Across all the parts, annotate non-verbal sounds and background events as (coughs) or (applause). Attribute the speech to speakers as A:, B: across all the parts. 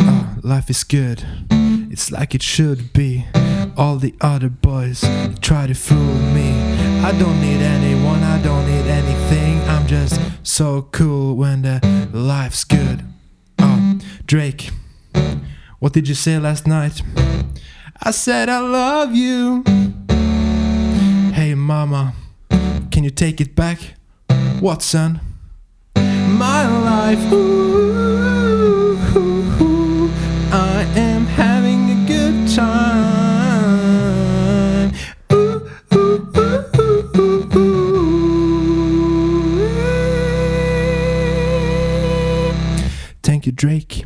A: Uh, life is good. It's like it should be. All the other boys try to fool me. I don't need anyone, I don't need anything. I'm just so cool when the life's good. Oh, Drake, what did you say last night? I said I love you. Hey, mama, can you take it back? What, son? My life, ooh, ooh, ooh, I am having a good time. Ooh, ooh, ooh, ooh, ooh, ooh. Thank you, Drake.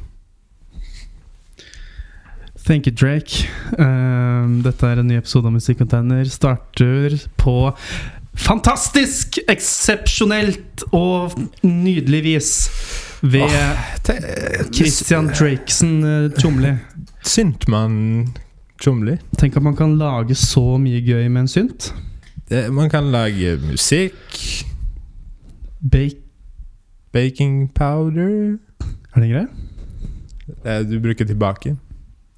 B: Thank you, Drake. Ehm, dette er en ny episode av Musikkcontainer. Starter på fantastisk, eksepsjonelt og nydelig vis ved Christian Drakeson eh, Tjomli.
A: Syntmann Tjomli.
B: Tenk at man kan lage så mye gøy med en synt.
A: Det- Man kan lage musikk.
B: Bake
A: Baking powder.
B: Er det greit?
A: Eh, Du bruker tilbake.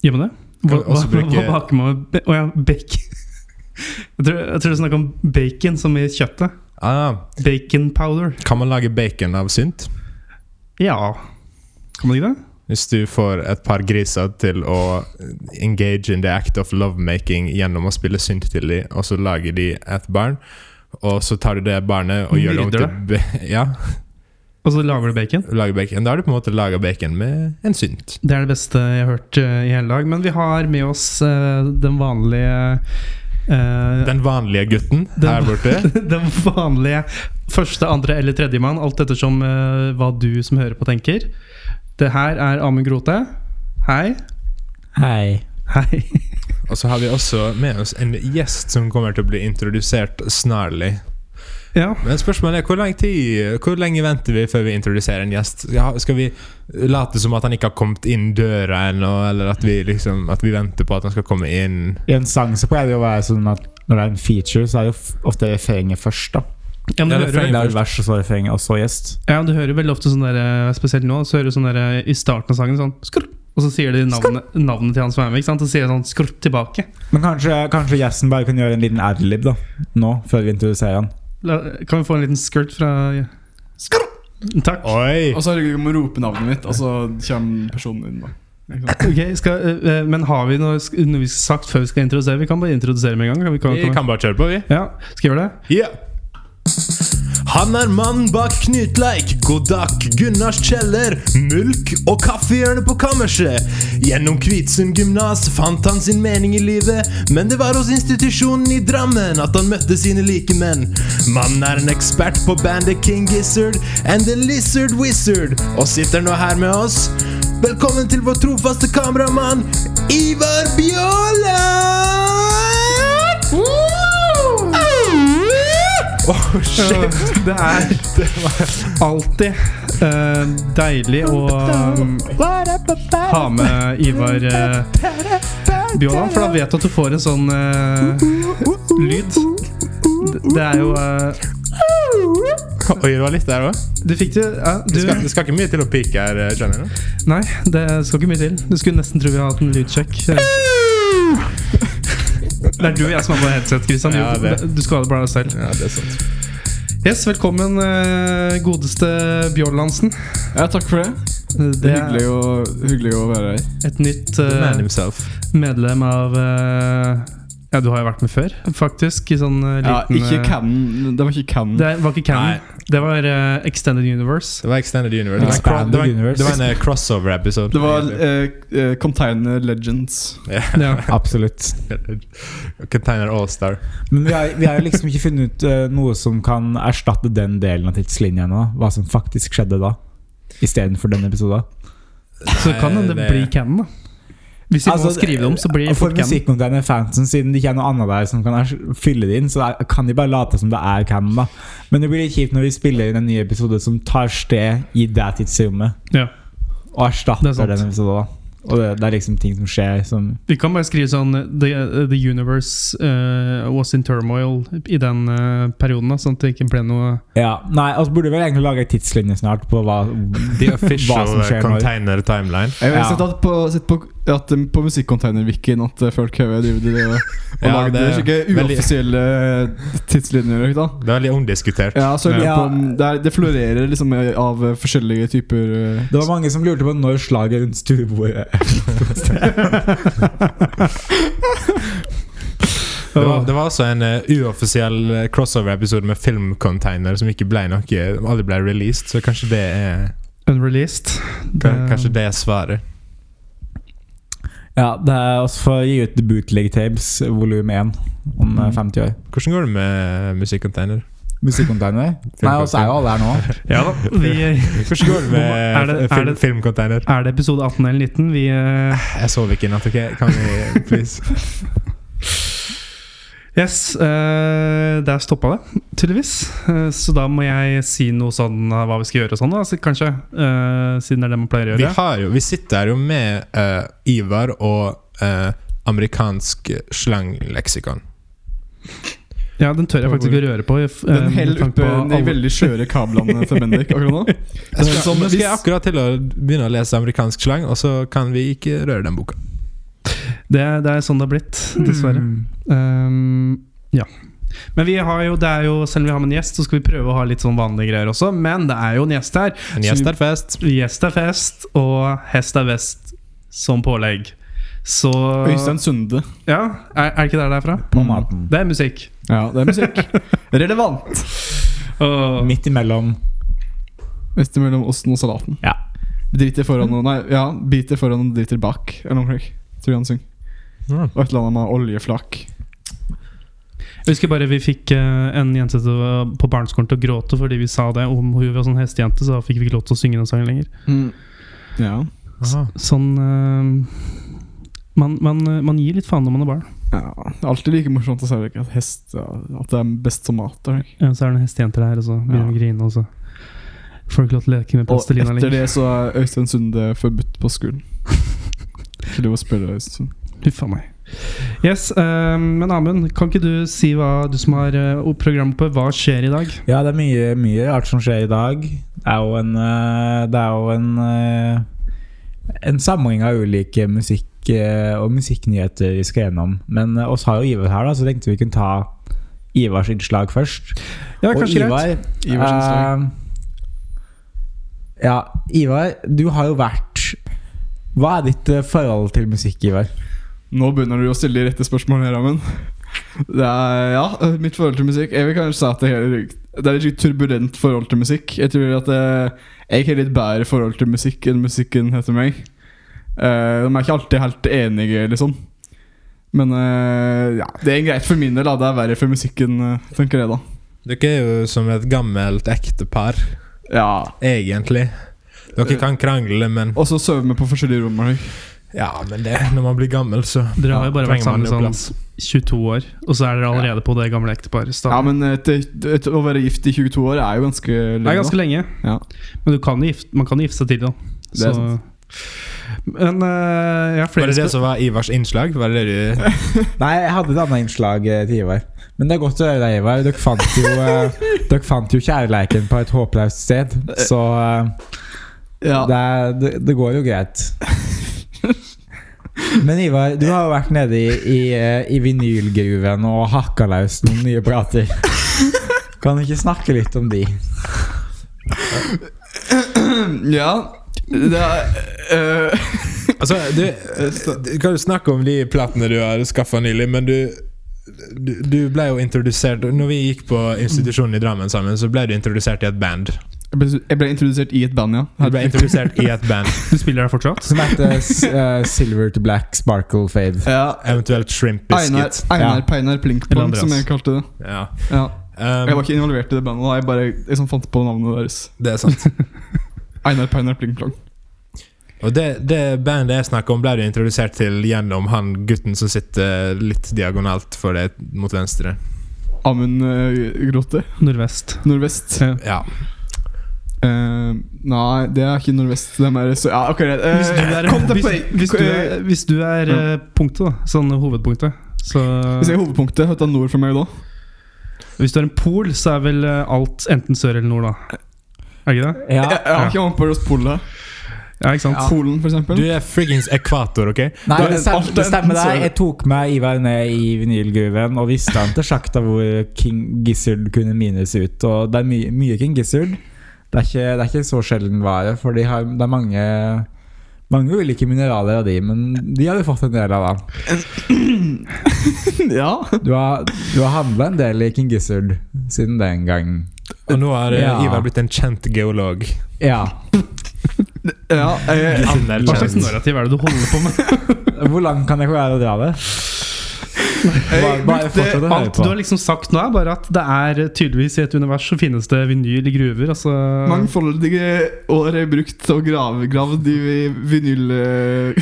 B: Gjør man det? Hva,
A: Kan
B: hva,
A: også
B: hva,
A: bruke-
B: baker man med ba- Å ja, bacon. (laughs) Jeg tror, jeg tror du snakker om bacon som i kjøttet.
A: Ah,
B: Bacon powder.
A: kan man lage bacon av synt?
B: Ja. Kan man ikke det?
A: Hvis du får et par griser til å engage in the act of lovemaking gjennom å spille synt til dem, og så lager de et barn, og så tar du det barnet og gjør det om
B: Myrder
A: til ba- (laughs) Ja,
B: Og så lager du bacon?
A: lager bacon. Da har du på en måte laga bacon med en synt.
B: Det er det beste jeg har hørt eh, i hele dag. Men vi har med oss eh, den vanlige eh,
A: Den vanlige gutten
B: Den-
A: her
B: (laughs)
A: borte.
B: den vanlige første, andre eller tredjemann, alt ettersom eh, hva du som hører på, tenker. Det her er Amund Grote. Hei.
C: Hei.
B: Hei. (laughs)
A: Og så har vi også med oss en gjest som kommer til å bli introdusert snarlig.
B: Ja.
A: Men spørsmålet er hvor, lang tid, hvor lenge venter vi før vi introduserer en gjest? Ja, skal vi late som at han ikke har kommet inn døra ennå, eller at vi, liksom, at vi venter på at han skal komme inn?
C: I en sang så pleier det jo å være sånn at når det er en feature, så er jo f- ofte refrenget først. da
B: Ja, men
A: Ja,
B: du,
A: det
B: hører,
C: Det er jo vers, og så refreng, og så gjest.
B: ja, men du hører veldig ofte sånn der, eh, spesielt nå, så hører du sånn der eh, i starten av sangen sånn skrr, Og så sier de navnet, navnet til han som er med, ikke sant? Og sier sånn skrr tilbake.
C: Men kanskje, kanskje gjesten bare kan gjøre en liten adlib da nå, før vi introduserer han.
B: La, kan vi få en liten skurt fra Skrr! Takk.
A: Oi!
D: (laughs) Og så er det om å rope navnet mitt, og så kommer personen inn. da Ikke sant?
B: Ok, skal, eh, eh, men har vi noe, sk- noe vi skal sagt før vi skal introdusere? Vi kan bare introdusere med en gang. Kan vi, kan,
A: Vi kan bare kjøre på, vi.
B: Ja, skal jeg
A: (laughs)
B: gjøre det?
A: Ja. Han er mannen bak Knutleik, Godak, Gunnars kjeller, Mulk og kaffehjørnet på kammerset. Gjennom Kvitsund gymnas fant han sin mening i livet, men det var hos institusjonen i Drammen at han møtte sine likemenn. Mannen er en ekspert på bandet King Gizzard and The Lizard Wizard, og sitter nå her med oss. Velkommen til vår trofaste kameramann Ivar Bjåland! Åh, shit!
B: Eh, Det er alltid eh, deilig å um, ha med Ivar eh, Bjåland, for da vet du at du får en sånn eh, lyd. Det- Det er jo eh,
A: (laughs) Oi, det var litt der òg.
B: Du fikk det ja,
A: Det, skal-
B: du,
A: det skal ikke mye til å pike her. eh, Johnny.
B: Nei, det skal ikke mye til. Du skulle nesten tro vi hadde hatt en lydsjekk. Det er du og jeg som har på headset, Christian.
A: Ja, det.
B: du skal ha det bare deg selv.
A: Ja, det er sant.
B: Yes, velkommen, eh, godeste Bjørnlandsen.
D: Ja, takk for det. Det
B: Det
D: er
B: er
D: hyggelig å, hyggelig å være her.
B: et nytt eh,
A: Man himself.
B: medlem av eh, Ja, du har jo vært med før, faktisk. I sånn eh,
D: Ja,
B: liten
D: ikke
B: eh,
D: Cannon. Det var ikke Cannon.
B: Det var ikke
A: Nei.
B: Cannon. Det var eh, Extended Universe.
A: Det var Extended Universe.
D: Ja.
A: Det var en cro-
C: Expanded
A: det var, en-
C: Universe.
A: det var en eh, crossover-episode.
D: Det var eh, eh, Container Legends.
A: (laughs)
B: Ja.
C: Absolutt.
A: Container Allstar.
C: Men vi har, vi har jo liksom ikke funnet ut eh, noe som kan erstatte den delen av tidslinja ennå. Hva som faktisk skjedde da, istedenfor den episoden.
B: Så kan det,
A: det-
B: bli Cannon, da. Hvis vi må
C: Altså,
B: skrive det om, så blir det
C: Og for
B: fort Cannon.
C: musikkcontainer fansen, siden det ikke er noe annet der som kan ers- fylle det inn, så er- kan de bare late som det er Cannon, da. Men det blir litt kjipt når vi spiller inn en ny episode som tar sted i det tidsrommet,
B: Ja. Det er
C: og erstatter
B: sant.
C: den episoden, da. Og det, det er liksom ting som skjer som
B: Vi kan bare skrive sånn The, the universe eh, was in turmoil i den eh, perioden, da, sånn at det ikke ble noe
C: Ja, nei, altså burde vi vel egentlig lage en tidslinje snart på hva
A: The
C: Hva som
A: official eh,
C: skjer når-
A: container timeline.
D: Jeg har
C: Ja.
D: sett at på, sett på, at um, på Musikkcontainer-wikien at uh, folk har drevet og (laughs) og
A: Ja,
D: laget
A: det-
D: slike
A: veldig-
D: uoffisielle tidslinjer. Ikke, da?
A: Det er veldig omdiskutert.
D: Ja, så jeg lurer
C: Ja.
D: på om det, er, det florerer liksom eh, av eh, forskjellige typer eh,
C: Det var mange som lurte på når slaget rundt stuebordet
A: Det var, det var også en eh, uoffisiell eh, crossover-episode med filmcontainer som ikke ble noe, aldri ble released, så kanskje det er
B: Unreleased.
A: ka- Kanskje det er svaret.
C: (laughs) Ja, det er også for å gi ut The Bootleg Tapes volum 1 om eh, 50 år.
A: Hvordan går det med eh, musikkonteiner?
C: Musikkcontainer? Nei, også er jo alle her (laughs) nå.
B: Ja da. Vi,
A: Hvordan
B: (laughs)
A: går det
B: Er
A: med
B: det- er
A: film,
B: det-
A: filmcontainer?
B: er det episode 18 eller 19? Vi, eh,
A: Jeg sover ikke i natt, OK? Kan vi please?
B: yes, eh, der stoppa det, tydeligvis. Eh, så da må jeg si noe sånn av hva vi skal gjøre og sånn, da, så kanskje. eh, siden det er det man pleier
A: (laughs)
B: å
A: Vi,
B: gjøre.
A: har jo, vi sitter her jo med eh, Ivar og eh, amerikansk slangleksikon.
B: Ja, den tør jeg faktisk ikke å røre på. eh,
D: Den
B: med
D: heller
B: tanke på
D: oppe de
B: alle-
D: veldig skjøre kablene til Bendik akkurat (laughs) nå.
A: Nå
D: Det er som
A: skal
D: hvis-
A: jeg akkurat til å begynne å lese amerikansk slang, og så kan vi ikke røre den boka.
B: Det, det er sånn det har blitt,
A: Mm.
B: dessverre.
C: Mm.
B: Ehm, ja. Men vi har jo, det er jo, selv om vi har med en gjest, så skal vi prøve å ha litt sånn vanlige greier også. Men det er jo en gjest her.
A: En gjest er fest.
B: Gjest er fest, og hest er vest som pålegg. Så
D: Øystein Sunde.
B: Ja, er, er det ikke der det er fra?
C: På maten.
B: Det er musikk.
D: Ja, det er musikk. (laughs) Relevant.
B: Og-
C: Midt imellom.
D: Mest mellom osten og salaten.
C: Ja.
D: Driter foran og Nei, ja, biter foran og driter bak. Eller noe slikt. Tror jeg han synger.
A: Ja.
D: Og et eller annet med oljeflak.
B: Jeg husker bare vi fikk eh, en jente til, å- på barneskolen til å gråte fordi vi sa det om hun var sånn hestejente, så da fikk vi ikke lov til å synge den sangen lenger.
D: Hmm. Ja.
A: Aha.
B: Sånn eh, man, man, man gir litt faen når man er barn.
D: ja. Det er alltid like morsomt å se ikke, at hest ja, At det er best som mat. er det ikke?
B: Ja, så er det en hestejente der, og så begynner hun å grine, og så får du ikke lov til å leke med
D: Og
B: plastelina
D: etter
B: lenger.
D: det så er Øystein Sunde forbudt på (laughs) skolen. Ikke lov å spørre Øystein Sunde.
B: Huff a meg. Yes, eh, men Amund, kan ikke du si hva du som har eh, programmet på, hva skjer i dag?
C: Ja, det er mye, mye rart som skjer i dag. Det er jo en eh, Det er jo en eh, En samling av ulike musikk eh, og musikknyheter vi skal gjennom. Men eh, oss har jo Ivar her, da, så tenkte vi kunne ta Ivars innslag først.
B: Ja,
C: og
B: kanskje greit.
C: Ivar
D: Ivarsen slag.
C: eh, Ja, Ivar, du har jo vært Hva er ditt eh, forhold til musikk, Ivar?
D: Nå begynner du å stille de rette spørsmålene her, Amund. Det er, ja, mitt forhold til musikk Jeg vil kanskje si at det er, det er et litt turbulent forhold til musikk. Jeg tror at jeg, jeg har litt bedre forhold til musikk enn musikken heter meg. Eh, de er ikke alltid helt enige, liksom. Men eh, ja, det er greit for min del. Da. Det er verre for musikken, eh, tenker jeg da.
A: Dere er jo som et gammelt ektepar,
D: Ja.
A: egentlig. Dere kan krangle, men
D: Og så sover vi på forskjellige rom. eller?
A: Ja, men det når man blir gammel, så
B: Dere har jo bare vært
A: trenger man
B: sammen
A: jo plass.
B: sånn 22 år, og så er dere allerede på det gamle ekteparet.
D: Ja,
B: stadig.
D: men et, et, et, å være gift i 22 år er jo ganske lenge.
B: Det er ganske
D: da.
B: lenge,
D: Ja.
B: men du kan jo gifte, man kan jo gifte seg tidlig, da.
D: Det er
B: Så- Men eh, jeg
A: Var
B: har
A: det det
B: flere spørsmål.
A: som var Ivars innslag? Var det det du
C: Nei, jeg hadde et annet innslag eh, til Ivar. Men det er godt å høre deg, Ivar. Dere fant jo, eh, dere fant jo kjærleiken på et håpløst sted. Så eh,
D: Ja.
C: det, er, det, det går jo greit. Men Ivar, du har jo vært nede i, i, eh, i vinylgruven og hakka løs noen nye plater. Kan du ikke snakke litt om de?
D: ja. Det er eh,
A: Altså, du, du kan jo snakke om de platene du har skaffa nylig, men du, du Du ble jo introdusert Når vi gikk på institusjonen i Drammen sammen, så ble du introdusert i et band.
D: Jeg ble, jeg ble introdusert i et band, ja.
A: Du ble introdusert i et band,
B: Du spiller der fortsatt?
C: Som heter s- eh, Silver to Black Sparkle Fade.
D: ja.
A: eventuelt Shrimp
D: Einar,
A: Biscuit.
D: Einar
C: Ja.
D: Peinar
B: Eller
D: Plinkpong,
B: Andreas.
D: som jeg kalte det.
A: Ja.
D: Ja. Jeg
A: Um,
D: var ikke involvert i det bandet, da. jeg bare liksom fant på navnet deres.
A: det er sant.
D: Einar Peinar Plinkplong.
A: Og det, det bandet jeg snakker om, ble du introdusert til gjennom han gutten som sitter litt diagonalt for deg mot venstre.
D: Amund uh, Grote.
B: Nordvest.
D: Nordvest.
B: Ja.
A: Ja.
D: Eh, Nei, det er ikke Nordvest. De er så, ja, ok, greit.
B: Hvis du er,
D: Eh, kom til
B: hvis,
D: poeng.
B: hvis du er, hvis du er
D: Ja.
B: eh, punktet, da, sånn hovedpunktet så
D: Hvis jeg er hovedpunktet, hva er nord for meg da?
B: Hvis du er en pol, så er vel eh, alt enten sør eller nord, da. Er ikke det?
C: Ja.
D: Jeg, jeg har ikke annet på oss Polen. her.
B: Ja, ikke sant?
D: Polen, for eksempel.
A: Du er friggings ekvator, OK?
C: Nei,
D: Da
C: det
D: er det
C: stemmer,
D: alt
C: det stemmer
D: enten
C: det.
D: så-
C: Jeg tok med Ivar ned i vinylgruven og visste han til sjakta hvor King Gizzard kunne mines ut. Og det er mye, mye King Gizzard. Det er ikke, det er ikke så sjelden vare, for de har, det er mange mange ulike mineraler av de, men de har du fått en del av. da
D: (laughs) ja.
C: Du har, du har handla en del i King Gizzard siden den gang.
A: Og nå har eh,
C: Ja.
A: Ivar blitt en kjent geolog.
C: Ja.
D: ja jeg,
A: Gizzard
B: Hva slags
A: kjent.
B: narrativ er det du holder på med?
C: Hvor langt kan jeg være å dra det? Bare, bare fortsett å høre
B: Alt du
C: på.
B: har liksom sagt nå, er bare at det er eh, tydeligvis i et univers så finnes det vinyl i gruver. Altså
D: Mangfoldige år er brukt og grave, gravd i vinyl... eh,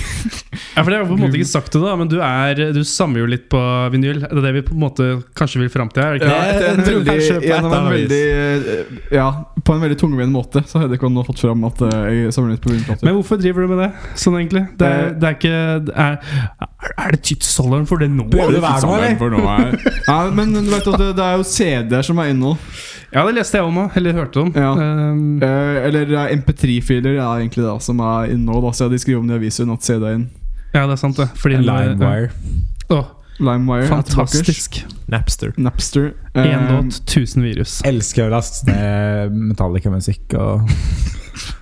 B: Ja, for det har jeg på en måte ikke sagt det, da, men du, er, eh, du samler jo litt på vinyl. Det er det vi på en måte kanskje vil fram til her. er det ikke
D: Ja,
B: det?
A: jeg
D: etter en
A: tror
D: veldig,
A: kanskje på et
D: gjennom en
A: annet
D: veldig eh, Ja, på en veldig tungvint måte så hadde jeg kunnet fått fram at eh, jeg samler litt på vinplater.
B: Men hvorfor driver du med det sånn, egentlig? Det
D: Eh,
B: er, det er ikke det er, er- Er det tidsalderen for det nå?
C: Prøver du hver gang,
D: Samleren
C: eller?
D: for nå er- Ja, men du vet at det, det er jo CD-er som er inne nå.
B: Ja, det leste jeg om òg. Eller hørte om.
D: Ja.
B: Ehm,
D: Eh, eller det er MP3-filer er egentlig det som er inne nå. Da, så de skriver om det i avisen at CD er inn.
B: ja, det er sant, det. Fordi
C: Limewire.
B: Å,
D: LimeWire. er tilbake.
B: fantastisk.
A: Napster.
D: Napster. eh,
B: Én låt, 1000 virus.
C: Elsker å laste ned Metallica-musikk og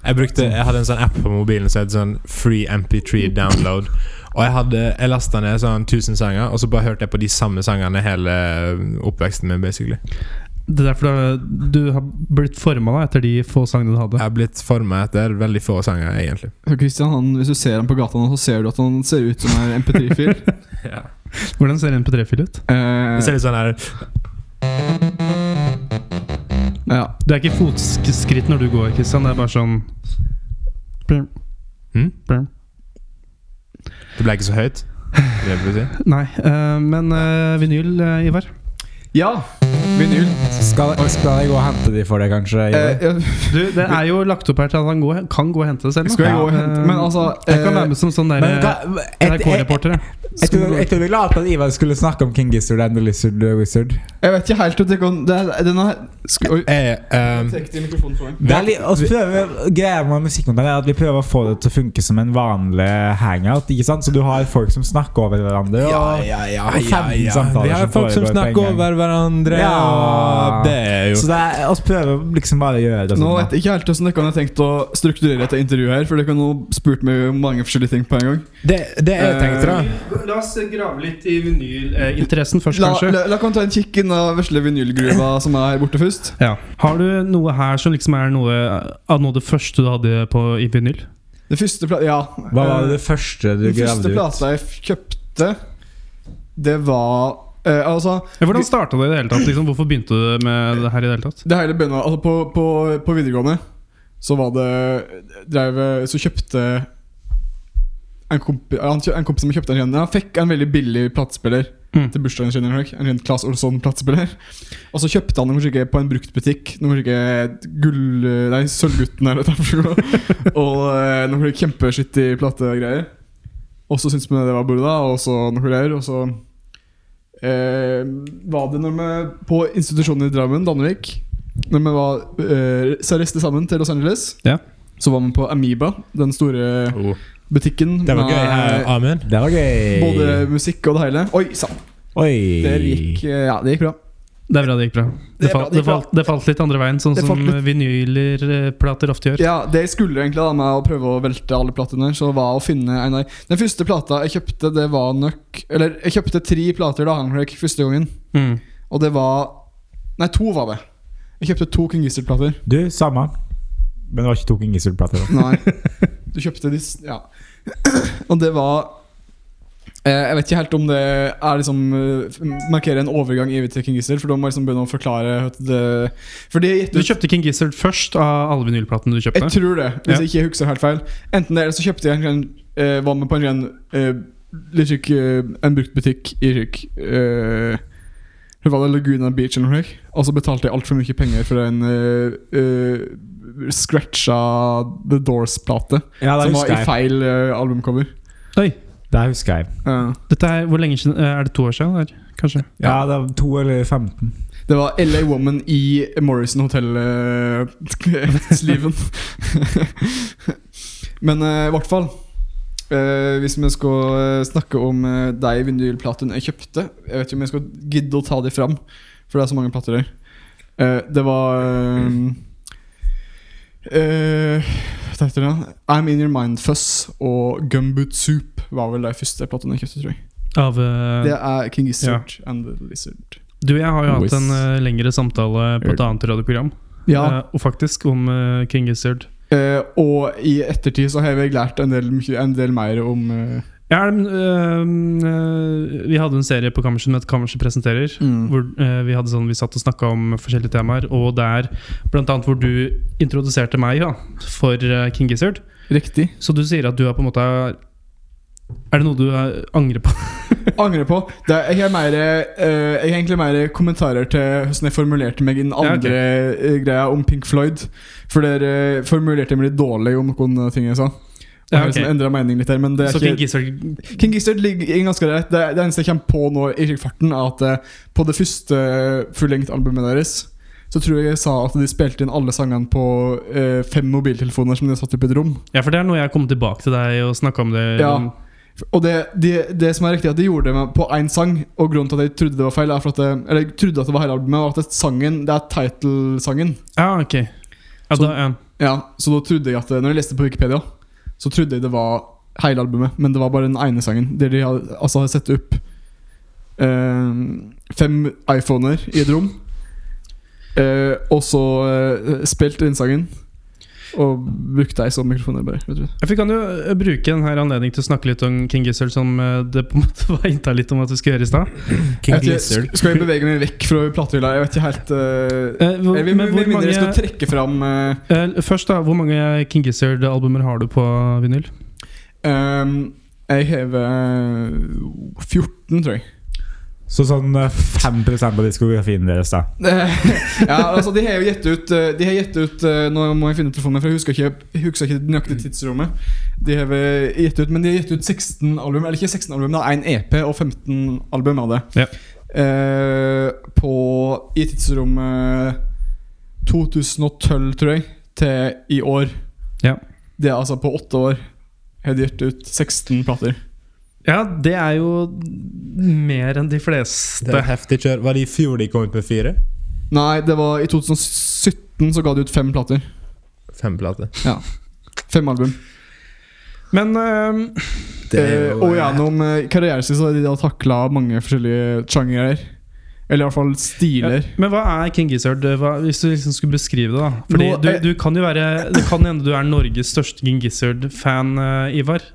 A: Jeg, brukte, jeg hadde en sånn app på mobilen som het sånn Free MP3 Download. Og jeg hadde Jeg lasta ned sånn 1000 sanger, og så bare hørte jeg på de samme sangene hele eh, oppveksten min. basically
B: Det er derfor du- du har blitt forma etter de få sangene du hadde.
A: Jeg har blitt forma etter veldig få sanger, egentlig.
D: Så Christian, han, Hvis du ser ham på gata, nå, så ser du at han ser ut som
B: (laughs)
D: en MP3-fil.
B: Hvordan ser en MP3-fil ut?
A: Det ser
D: Eh,
A: litt sånn her
D: ja.
B: Du er ikke i fotskritt når du går, Kristian. Det er bare sånn
A: hm? Det ble ikke så høyt. Det vil (laughs) si.
B: Nei, eh, men eh, vinyl, eh, Ivar?
D: ja! Vinyl.
C: Skal, skal jeg gå og hente de for deg, kanskje?
D: Eh,
C: Ivar?
D: jeg,
B: Du, det er jo lagt opp her til at han går, kan gå og hente det selv. da.
D: skal jeg gå og hente
B: Eh,
D: Men altså
B: jeg kan
D: eh,
B: være med som sånn der,
C: Men hva- et- jeg-
B: NRK-reporter. jeg.
C: jeg tror- jeg trodde vi la til at Ivar skulle snakke om King Gizzard and the Lizard Wizard.
D: Jeg vet ikke helt om det kan det er, Den er sk- Oi.
A: Jeg, ehm,
D: Trekk til mikrofonen for meg.
C: Um, Det er litt, og så prøver, greia med musikkontent er at vi prøver å få det til å funke som en vanlig hangout. ikke sant? Så du har folk som snakker over hverandre. Og,
A: ja, ja, ja,
C: og 15 samtaler
A: Vi har
C: som
A: folk som
C: foregår på en
A: snakker
C: gang.
A: over hverandre,
C: Ja.
A: og det er jo
C: Så det er, oss prøver liksom bare å gjøre det
D: Nå
C: sånn.
D: vet jeg ikke helt hvordan dere har tenkt å strukturere dette intervjuet her, for dere har nå spurt meg om mange forskjellige ting på en gang.
A: Det, det jeg tenkte, da.
B: Eh, La oss grave litt i vinylinteressen først,
D: La,
B: kanskje.
D: la, la kan ta en kikk inn av vesle vinylgruva
C: (coughs)
D: som er her borte først.
B: Ja. Har du noe her som liksom er noe av noe av det første du hadde på, i vinyl?
D: Det første pla ja. Eh,
C: Hva var det første du
D: Den første
C: gravde ut?
D: plata jeg f- kjøpte, det var eh, Altså,
B: Ja, hvordan starta det i det hele tatt? Liksom? Hvorfor begynte du med det her i det hele tatt?
D: det hele begynner altså, på, på, på videregående så var det drev, Så kjøpte en, komp han kjø- en kompis som kjøpte en ren Han fikk en veldig billig platespiller
B: Mm.
D: til bursdagen sin. Henrik, En ren Claes Olsson-platespiller. Og så kjøpte han den kanskje ikke på en bruktbutikk. Noe kanskje ikke gull... Nei, Sølvgutten eller hva det er for noe. Og eh, noe kanskje kjempeskittig plategreier. Og så syntes vi det var bordet, da, og så noe greier. Og så eh, var det når vi på institusjonen i Drammen, Danvik Når vi var eh, så reiste sammen til Los Angeles,
B: Ja.
D: så var vi på Amoeba, den store
A: Oh,
D: butikken
A: det var gøy.
D: med
A: eh, Amund.
C: Det var gøy.
D: både musikk og det hele. Oi sann!
C: Oi.
D: Det gikk, eh, ja, det gikk bra.
B: Det er bra det gikk bra.
D: Det
B: Det
D: er
B: falt, det
D: bra det gikk
B: falt, det falt litt andre veien, sånn
D: Det
B: som
D: falt litt-
B: vinyler, eh, plater ofte gjør.
D: Ja, Det jeg skulle egentlig da med å prøve å velte alle platene, så var å finne en av Den første plata jeg kjøpte, det var nok Eller jeg kjøpte tre plater da, Henrik, første gangen.
B: Mm.
D: Og det var Nei, to var det. Jeg kjøpte to King Gizzard-plater.
C: Du, samme. Men det var ikke to King Gizzard-plater. da.
D: Nei. Du kjøpte de s- Ja. (clears throat) Og det var eh, Jeg vet ikke helt om det er liksom eh, markerer en overgang i til King Gizzard, for da må jeg liksom begynne å forklare at det For de
B: Du
D: gitt ut
B: kjøpte King Gizzard først av alle vinylplatene du
D: Jeg
B: kjøpte?
D: tror det, hvis
B: Ja.
D: jeg ikke husker helt feil. Enten det, eller så kjøpte jeg en ren eh, Var med på en ren eh, litt slik, eh, En bruktbutikk i Ryk. Eh, Hun var i Laguna Beach eller noe slik, og så betalte jeg altfor mye penger for en eh, eh, scratcha The Doors-plate.
C: Ja, det
D: Som var
C: husker
D: i
C: jeg.
D: feil eh, albumcover.
B: Oi!
C: Det husker jeg.
D: Eh,
B: Dette er, hvor lenge siden, eh, er det to år siden? Eller? Kanskje?
C: Ja, det var to eller 15.
D: det var LA Woman i Morrison eh, (laughs) Hotel-sliven. Men eh, i hvert fall eh, Hvis vi skal eh, snakke om eh, de vinylplatene jeg kjøpte Jeg vet ikke om jeg skal gidde å ta de fram, for det er så mange plater der. Eh, det var eh, eh, Hva heter det? da? I'm In Your Mind Fuss og Gumboot Soup var vel de første platene jeg kjøpte, tror jeg.
B: Av eh,
D: Det er King Gizzard and the Lizard.
B: Du og jeg har jo hatt
D: Whiz.
B: en eh, lengre samtale på et annet radioprogram,
D: Ja,
B: eh, og faktisk om eh, King Gizzard.
D: Eh, og i ettertid så har jeg vel lært en del, mye- en del mer om eh,
B: Ja, men, eh, eh, vi hadde en serie på Kammerset som het Kammerset presenterer. Hvor eh, vi hadde sånn, vi satt og snakka om forskjellige temaer, og der blant annet hvor du introduserte meg ja, for eh, King Gizzard.
D: Riktig.
B: Så du sier at du er på en måte Er det noe du eh, angrer på?
D: Angrer på. Det er, jeg, har mer, eh, jeg har egentlig mer kommentarer til hvordan jeg formulerte meg i den
B: Ja, ok.
D: andre eh, greia om Pink Floyd. For dere eh, formulerte jeg meg litt dårlig om noen eh, ting jeg sa. Og
B: Ja,
D: har
B: ok.
D: liksom endret mening litt her, men det er
B: Så King
D: ikke,
B: Gizzard
D: King Gizzard ligger i ganske rett. Det, det eneste jeg kommer på nå, i farten, er at eh, på det første fullengt albumet deres så tror jeg jeg sa at de spilte inn alle sangene på eh, fem mobiltelefoner som de satt opp i et rom.
B: Ja, for det er noe jeg kom tilbake til deg og snakka om det.
D: Ja. Og det, det, det som er riktig er at de gjorde det med, på én sang, og grunnen til at jeg trodde det var feil, er for at det, eller jeg trodde at det var hele albumet, var at det, sangen, det er title-sangen.
B: Ja, ok. Ja,
D: Så-
B: da, ja.
D: Ja, så da trodde jeg at det- Når jeg leste på Wikipedia, så trodde jeg det var hele albumet, men det var bare den ene sangen. Der de hadde, altså hadde satt opp eh, fem iPhoner i et rom, eh, og så eh, spilt den sangen, og brukte deg som mikrofoner, bare. Vet du.
B: Vi kan jo eh, bruke denne anledningen til å snakke litt om King Gizzard, som eh, det på en måte (laughs) var innta litt om at vi skulle gjøre i stad.
A: King
D: Jeg vet ikke,
A: Lizard.
D: sk- Skal vi bevege meg vekk fra platehylla? Jeg vet ikke helt eh,
B: Eh, hvor-
D: Eller vi,
B: men
D: vi,
B: hvor
D: mindre vi skal
B: mange-
D: trekke fram eh,
B: eh, Først, da. Hvor mange King Gizzard-albumer har du på vinyl?
D: ehm, Jeg hever eh, 14, tror jeg.
C: Så sånn eh, 5 av diskografien deres, da.
D: Eh, (laughs) ja, altså De har jo gitt ut eh, De har gitt ut eh, Nå må jeg finne telefonen, for jeg husker ikke, jeg husker ikke det nøyaktige tidsrommet. De har vel gitt ut Men de har gitt ut 16 album, eller ikke 16 album, det er én EP og 15 album av det.
B: Ja.
D: Eh, på I tidsrommet 2012, tror jeg, til i år.
B: Ja.
D: Det er altså på åtte år. Har de gitt ut 16 plater.
B: Ja, det er jo mer enn de fleste.
A: Det er heftig kjør. Var det i fjor de kom ut med fire?
D: Nei, det var i 2017 så ga de ut fem plater.
A: Fem plater.
D: Fem album.
B: Men eh,
D: Eh, og gjennom eh, karrieren sin så har de da takla mange forskjellige sjangere. Eller i hvert fall stiler.
B: Men hva er King Gizzard? Hva, hvis du liksom skulle beskrive det, da. Fordi
D: Nå,
B: du,
D: eh,
B: du kan jo være Det kan hende du er Norges største King Gizzard-fan, eh, Ivar.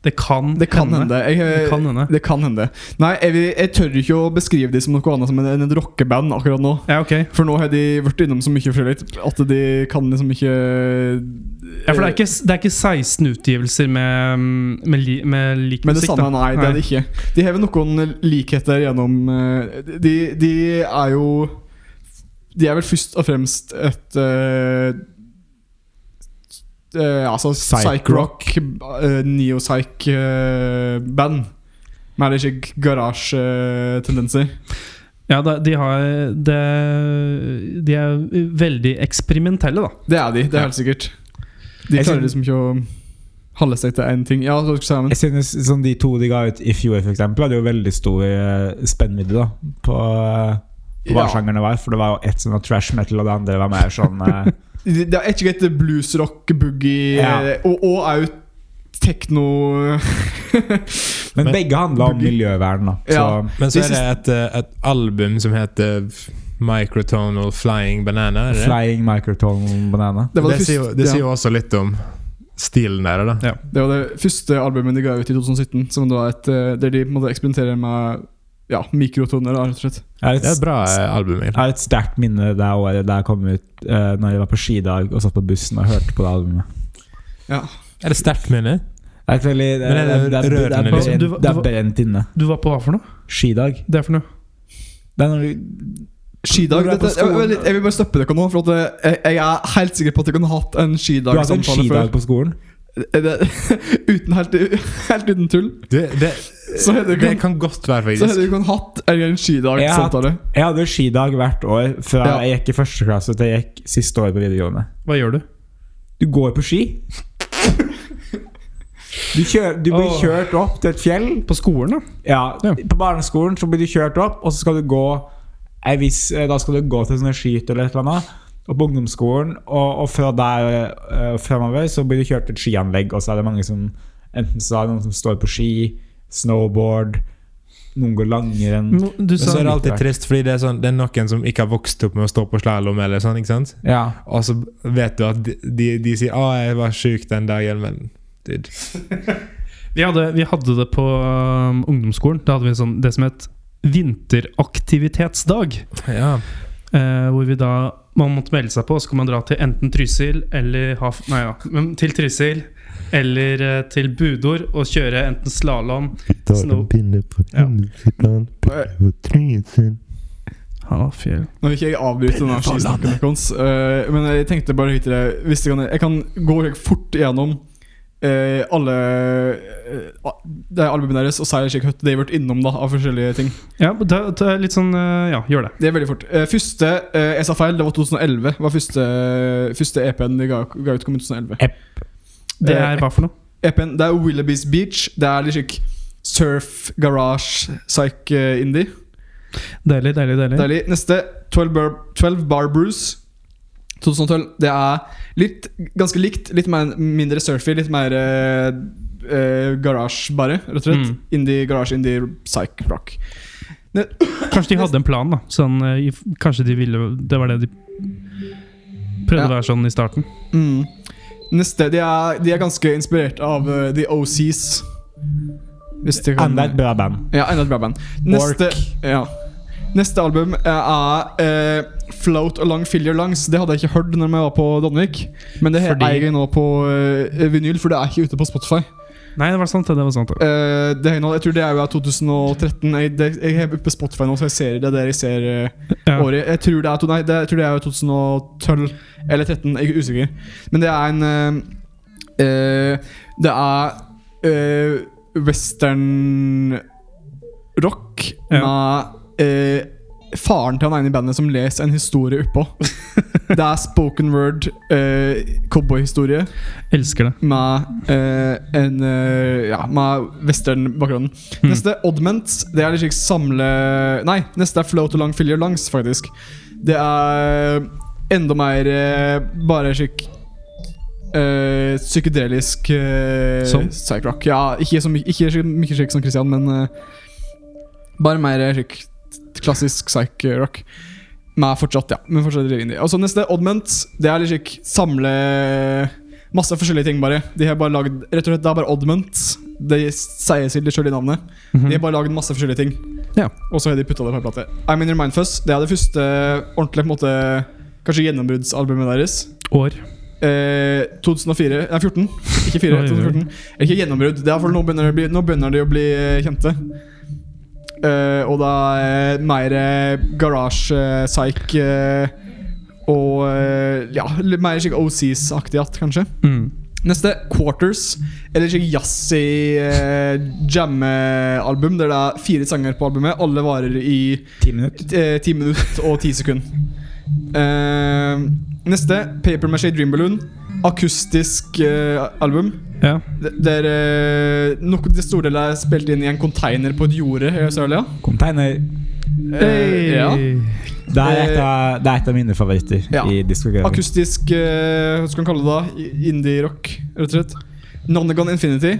B: Det kan,
D: Det kan hende. Jeg, eh,
B: Det kan hende.
D: det kan hende. Nei, jeg, vil- jeg tør ikke å beskrive de som noe annet som en, en rockeband akkurat nå.
B: Ja, ok.
D: For nå har de vært innom så mye forskjellig at de kan liksom ikke
B: Ja, for det er ikke, det er ikke 16 utgivelser med, mm, med, li, med lik
D: Men det
B: musikk, da.
D: samme, nei, det er det ikke. De har vel noen likheter gjennom eh, De, de er jo De er vel først og fremst et eh, eh, Altså
C: Psych
D: psych-rock, eh, neopsych-band. Med litt ikke garasjetendenser.
B: Ja, da, de, har, det, de er veldig eksperimentelle, da.
D: Det er de, det er helt sikkert. De
C: Jeg
D: klarer
C: syn-
D: liksom ikke å holde seg til én ting. Ja, hva skal du si, Amund?
C: Jeg synes sånn De to de ga ut i fjor, for eksempel, hadde jo veldig stor eh, spennvidde da på, eh, på hva
D: Ja.
C: sjangerne var. For det var jo ett som var trash metal, og det andre var mer sånn eh,
D: Det det er ikke greit det er blues, rock, boogie eh,
C: Ja.
D: og, og er jo tekno
C: Men,
A: Men-
C: begge handla om
D: Boogie.
C: miljøvern, da. Så
D: Ja.
A: Men så
D: De
A: er det et, eh, et album som heter Microtonal Flying Banana. Er det? det?
C: Flying Microtone Banana.
D: (laughs) Det var
A: det,
D: det,
A: sier, jo-
D: første,
A: det sier
D: ja.
A: jo også litt om stilen der, da.
D: det var det første albumet de ga ut i 2017, som da er et, eh, der de på en måte eksperimenterer med ja, mikrotoner. da, rett og slett
C: Jeg har
A: Det er
C: et,
A: et bra eh, album.
C: jeg
A: egentlig.
C: har et sterkt minne det året da jeg kom ut eh, Når jeg var på skidag og satt på bussen og hørte på det albumet.
A: Er det sterkt minne?
C: Det er et veldig Det
A: Men
C: er-
A: er det
C: det er- det er
A: rørende,
C: brent-
B: liksom? Du var-
C: det
B: du
C: er
B: var-
C: brent inne.
B: Du var på hva for noe?
C: Skidag.
B: Det er for noe?
C: Det er når du
D: Skidag
C: Når du er på
D: dette, jeg,
C: skolen-
D: vent litt, jeg vil bare stoppe dere nå, for at eh, jeg, jeg er helt sikker på at dere kunne hatt
C: Du har
D: en
C: hatt en
D: skidagsamtale
C: skidag
D: før. Eh,
C: på skolen.
D: Det- (laughs) Uten helt, helt uten tull.
A: Det, det,
D: Så hadde
A: det
D: dere
A: kan godt være,
D: så hadde
A: faktisk.
D: dere kunnet hatt en, en skidagsamtale.
C: Jeg hadde skidag hvert år fra
D: Ja.
C: jeg gikk i første klasse til jeg gikk siste år på videregående.
B: Hva gjør du?
C: Du går på ski. Du, kjø- du blir
B: Åh.
C: kjørt opp til et fjell.
B: På skolen, da?
C: Ja,
B: Ja.
C: På barneskolen så blir du kjørt opp, og så skal du gå ei viss, eh, Da skal du gå til sånne skyt eller et eller annet. Og på ungdomsskolen og, og fra der eh, fremover så blir du kjørt til et skianlegg, og så er det mange som Enten så er det noen som står på ski, snowboard, noen går langrenn
B: Mo- Du
A: Men så
B: sa
A: er det alltid trist, fordi det er, sånn, det er noen som ikke har vokst opp med å stå på slalåm, eller sånn, ikke sant?
C: Ja.
A: Og så vet du at de, de, de sier 'Å, jeg var sjuk den dagen', men dude.
B: Vi hadde, vi hadde det på um, ungdomsskolen. Da hadde vi sånn, det som het vinteraktivitetsdag.
A: Ja.
B: Eh, hvor vi da man måtte melde seg på, og så kan man dra til enten Trysil eller Haf... Nei, ja. Men til Trysil eller eh, til Budor og kjøre enten slalåm Snow- Ja. Halvfjell.
D: Nå vil ikke jeg avbryte denne skisnakken deres, eh, men jeg tenkte bare høyt til deg hvis jeg, kan, jeg kan gå helt fort gjennom eh, alle uh, Det er albumene deres, og særlig slik høyt de har vært innom da, av forskjellige ting.
B: Ja, men det, det er litt sånn eh, Ja, gjør det.
D: Det er veldig fort. Eh, første eh, Jeg sa feil, det var 2011. var første, første EP-en de ga, ga ut, kom i 2011.
B: Det
D: Eh,
B: er hva for noe?
D: EP-en, Det er Willoughby's Beach. Det er litt slik surf, garage, psych, eh, indie.
B: Deilig, deilig, deilig.
D: Deilig. Neste 12 Bar, 12 bar Bruce 2012. Det er litt ganske likt. Litt mer, mindre surfy, litt mer eh, eh, garasje, bare. Rett og slett.
B: Mm.
D: Indie garasje, indie psych rock.
B: Kanskje de hadde en plan, da. Sånn, eh, i- kanskje de ville Det var det de prøvde
D: Ja.
B: å være sånn i starten.
D: Mm. Neste de er, de er ganske inspirert av eh, The OCs. Hvis de kan
C: Enda et bra band.
D: Ja, enda et bra band. Neste, ja. Neste album eh, er eh, Float Along Fill Your Lungs. Det hadde jeg ikke hørt når jeg var på Danvik. Men det
B: Fordi-
D: eier jeg nå på eh, vinyl, for det er ikke ute på Spotify.
B: Nei, det var sant. det, Det var sant. det.
D: Eh, det er nå, jeg tror det er jo av 2013. Jeg, det, jeg er oppe på Spotify nå, så jeg ser det er der jeg ser eh,
B: Ja.
D: året. Jeg tror det er, to, nei, det, jeg tror det er jo 2012 eller 2013, jeg er usikker. Men det er en eh, eh, Det er eh, western rock med eh, faren til han ene i bandet som leser en historie oppå. det er spoken word eh, cowboyhistorie
B: Elsker det.
D: med eh, en eh, Ja, med western-bakgrunnen.
B: Mm.
D: Neste, Oddments. Det er litt slik samle... Nei, neste er Float Along Fill Your Lungs, faktisk. Det er enda mer eh, bare slik eh, psykedelisk uh,
B: Som?
D: psych-rock. Ja, ikke så my ikke så mye slik som Christian, men eh, bare mer eh, slik klassisk psych-rock. Men fortsatt, ja. Men fortsatt litt indie. Og så neste, Oddments. Det er litt slik samle Masse forskjellige ting, bare. De har bare lagd Rett og slett, det er bare Oddment. Det sier seg litt sjøl i navnet. De har bare lagd masse forskjellige ting.
B: Mhm. Ja.
D: Og så har de putta det på en plate. I'm In Your Mind Fuzz. Det er det første ordentlige på en måte Kanskje gjennombruddsalbumet deres.
B: År.
D: Eh, 2004 Nei, 14. Ikke
B: (laughs)
D: 4.
B: Oi, oi, oi.
D: 2014. Eller Ikke gjennombrudd. Det er for nå begynner de å bli, nå begynner de å bli eh, kjente. Eh, og det er mer eh, garage, eh, psych eh, og eh, ja, litt mer slik OCs-aktig att, kanskje.
B: Mm.
D: Neste, Quarters. Eller ikke jazzy eh, jamme-album, der det er fire sanger på albumet. Alle varer i
C: Ti minutter.
D: eh, ti minutter og ti sekunder. Eh, neste, Paper Maché Dream Balloon. Akustisk eh, album.
B: Ja.
D: D- Der eh, nok til store deler er spilt inn i en container på et jorde i Australia.
C: Container.
D: Eh, ja.
C: Det er et av, det er et av mine favoritter
D: Ja.
C: i diskografien.
D: Akustisk eh, Hva skal man kalle det da? I- Indie-rock, rett og slett. Nonagon Infinity.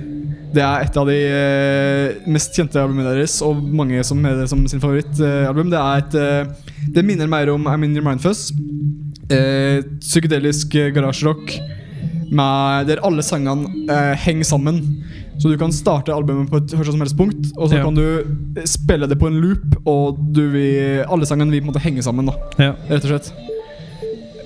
D: Det er et av de eh, mest kjente albumene deres, og mange som har det som sin favorittalbum. det er et eh, Det minner mer om I'm In Your Mind Fuzz. Eh, psykedelisk eh, garasjerock med- der alle sangene eh, henger sammen. Så du kan starte albumet på et hva som helst punkt, og så
B: Ja.
D: kan du eh, spille det på en loop, og du vil, alle sangene vil på en måte henge sammen. da
B: ja.
D: rett og slett.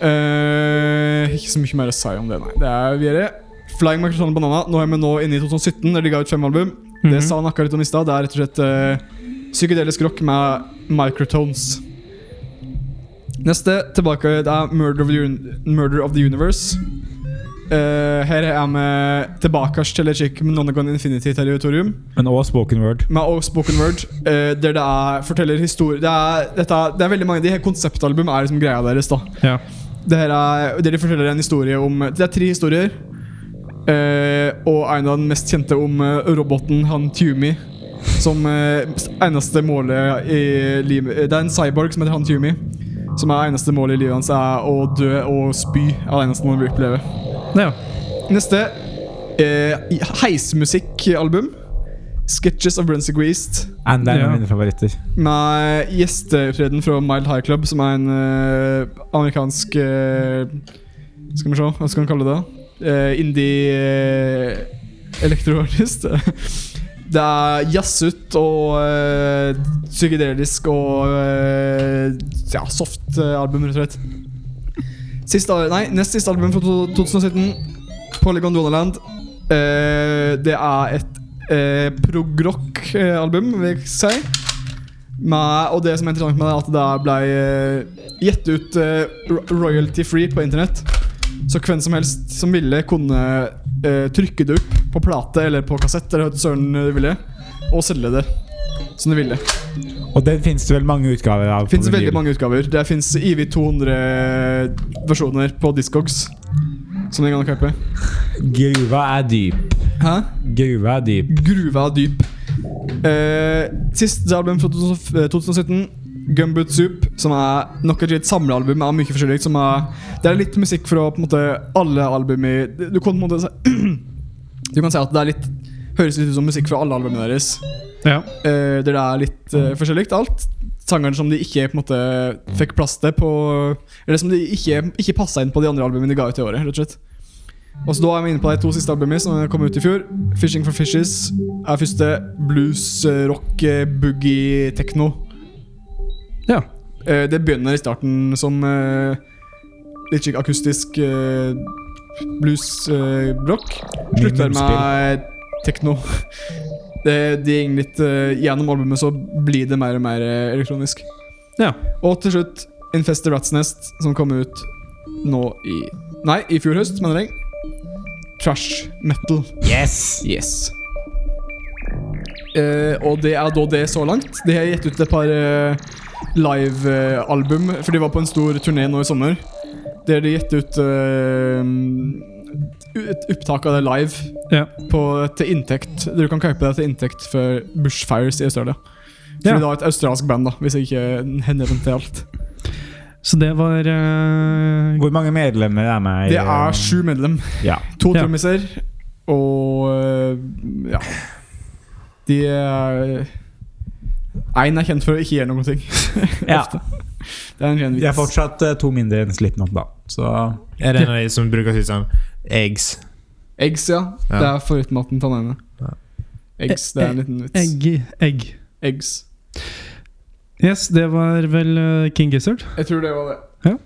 D: Eh, ikke så mye mer å si om det, nei. Det er videre. Flying Microsoft Banana. Nå er vi nå inne i 2017, der de ga ut fem album. Det
B: Mhm.
D: sa han akkurat litt om i stad. Det er rett og slett eh, psykedelisk rock med microtones. Neste tilbake det er Murder of the, Un Murder of the Universe. Eh, her er jeg med tilbake til et slik Nonagon Infinity-territorium.
C: Men også spoken word.
D: Med også Spoken Word, eh, der det er forteller historier det, er- dette er- det er veldig mange De her konseptalbum er liksom greia deres. da
B: Ja.
D: det her er, det de forteller en historie om Det er tre historier. Eh, og en av den mest kjente om eh, roboten han Tumi. Som eh, eneste målet i livet Det er en cyborg som heter han Tumi. Som er eneste målet i livet hans er å dø og spy. Er det eneste han vil oppleve.
B: ja.
D: Neste eh, heismusikkalbum. 'Sketches of Brunswick East'.
C: And det er en
B: Ja.
C: av mine favoritter.
D: Med gjesteopptreden fra Mild High Club, som er en eh, amerikansk eh, Skal vi se, hva skal man kalle det? Eh, indie eh, elektroartist. (laughs) det er jazzut og eh, psykedelisk og eh, ja, soft eh, album, rett og slett. Siste, nei, nest siste album fra to- 2017, Polygon Donaland. Eh, det er et eh, prog-rock-album, vil jeg si. Med, og det som er interessant med det, er at det der ble eh, gitt ut eh, ro- royalty free på internett. Så hvem som helst som ville, kunne eh, trykke det opp på plate eller på kassett eller hva søren du ville, og selge det som du ville.
C: Og den finnes det vel mange utgaver av. på
D: Det fins
C: vinyl.
D: veldig mange utgaver. Det fins IV 200 eh, versjoner på Discogs. Som den gangen kjøpte.
C: Gruva er dyp.
D: Hæ?
C: Gruva er dyp.
D: Gruva er dyp. Eh, siste album fra 2000 eh, 2017, Gumboot Soup, som er nok et litt samlealbum av mye forskjellig. Som er, det er litt musikk fra på en måte alle album i Du kan på en måte si, (clears throat) Du kan si at det er litt høres litt ut som musikk fra alle albumene deres.
B: ja.
D: Eh, der det er litt uh, forskjellig alt. Sangeren som de ikke på en måte fikk plass til på Eller som de ikke, ikke passa inn på de andre albumene de ga ut i året. rett og slett Og så Da er vi inne på de to siste albumene som kom ut i fjor. 'Fishing for Fishes' er første. Blues, eh, rock, eh, boogie, tekno.
B: Ja.
D: Eh, det begynner i starten som eh, litt slik akustisk eh, blues, eh, rock. Slutter med tekno. Det, de gikk litt eh, Gjennom albumet så blir det mer og mer eh, elektronisk.
B: Ja.
D: Og til slutt Infest the Rat's Nest, som kom ut nå i Nei, i fjor høst, mener jeg. Trash metal.
C: Yes!
D: Yes. Eh, og det er da det så langt. De har gitt ut et par eh, live-album, for de var på en stor turné nå i sommer. Der de gitt ut eh, et opptak av det live
B: ja.
D: på, til inntekt Du kan kjøpe det til inntekt for Bushfires i Australia.
B: Ja.
D: Som er da et australsk band, da hvis jeg ikke henvender til alt.
B: Så det var eh,
C: Hvor mange medlemmer er med? i- eh,
D: Det er sju medlem.
C: Ja.
D: To
B: Ja.
D: trommiser og øh, ja. De er Én er kjent for å ikke gjøre noen ting. (laughs)
C: Ja.
D: Det er en ren
C: De er
D: vits.
C: fortsatt eh, to mindre enn Slipknot, da. Så
A: Er det en av de som bruker å si sånn Eggs.
D: Eggs, ja.
A: Ja.
D: Det er foruten maten til han
A: Ja.
D: ene. Eggs, det er en liten vits.
B: egg, egg.
D: Eggs.
B: Yes, det var vel eh, King Gizzard.
D: Jeg tror det var det.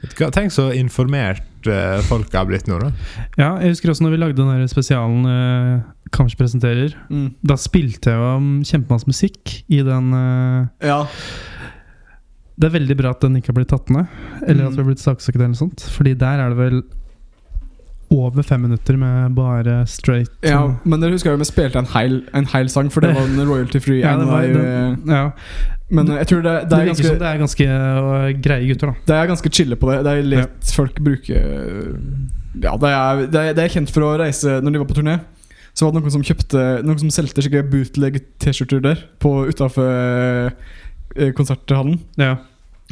A: Vet du hva, Tenk så informert eh, folk har blitt nå, da.
B: Ja, jeg husker også når vi lagde den her spesialen uh, Kamers presenterer.
D: Mm.
B: Da spilte jeg jo um, kjempemasse musikk i den eh,
D: Ja.
B: Det er veldig bra at den ikke har blitt tatt ned, eller at vi har blitt saksøkt eller noe sånt. Fordi der er det vel over fem minutter med bare straight
D: ja. Men dere husker jo vi spilte en heil, en heil sang, for det var den royalty free.
B: Ja, det var
D: en av de-
B: den, ja.
D: Men jeg tror det, det,
B: Det
D: er
B: virker
D: ganske,
B: som det er ganske øh, greie gutter, da.
D: det er ganske chille på det. Det er lett folk bruker Ja, det er, det, er, det er kjent for å reise Når de var på turné, så var det noen som kjøpte Noen som solgte skikkelig bootleg-T-skjorter der utafor konserthallen.
B: Ja.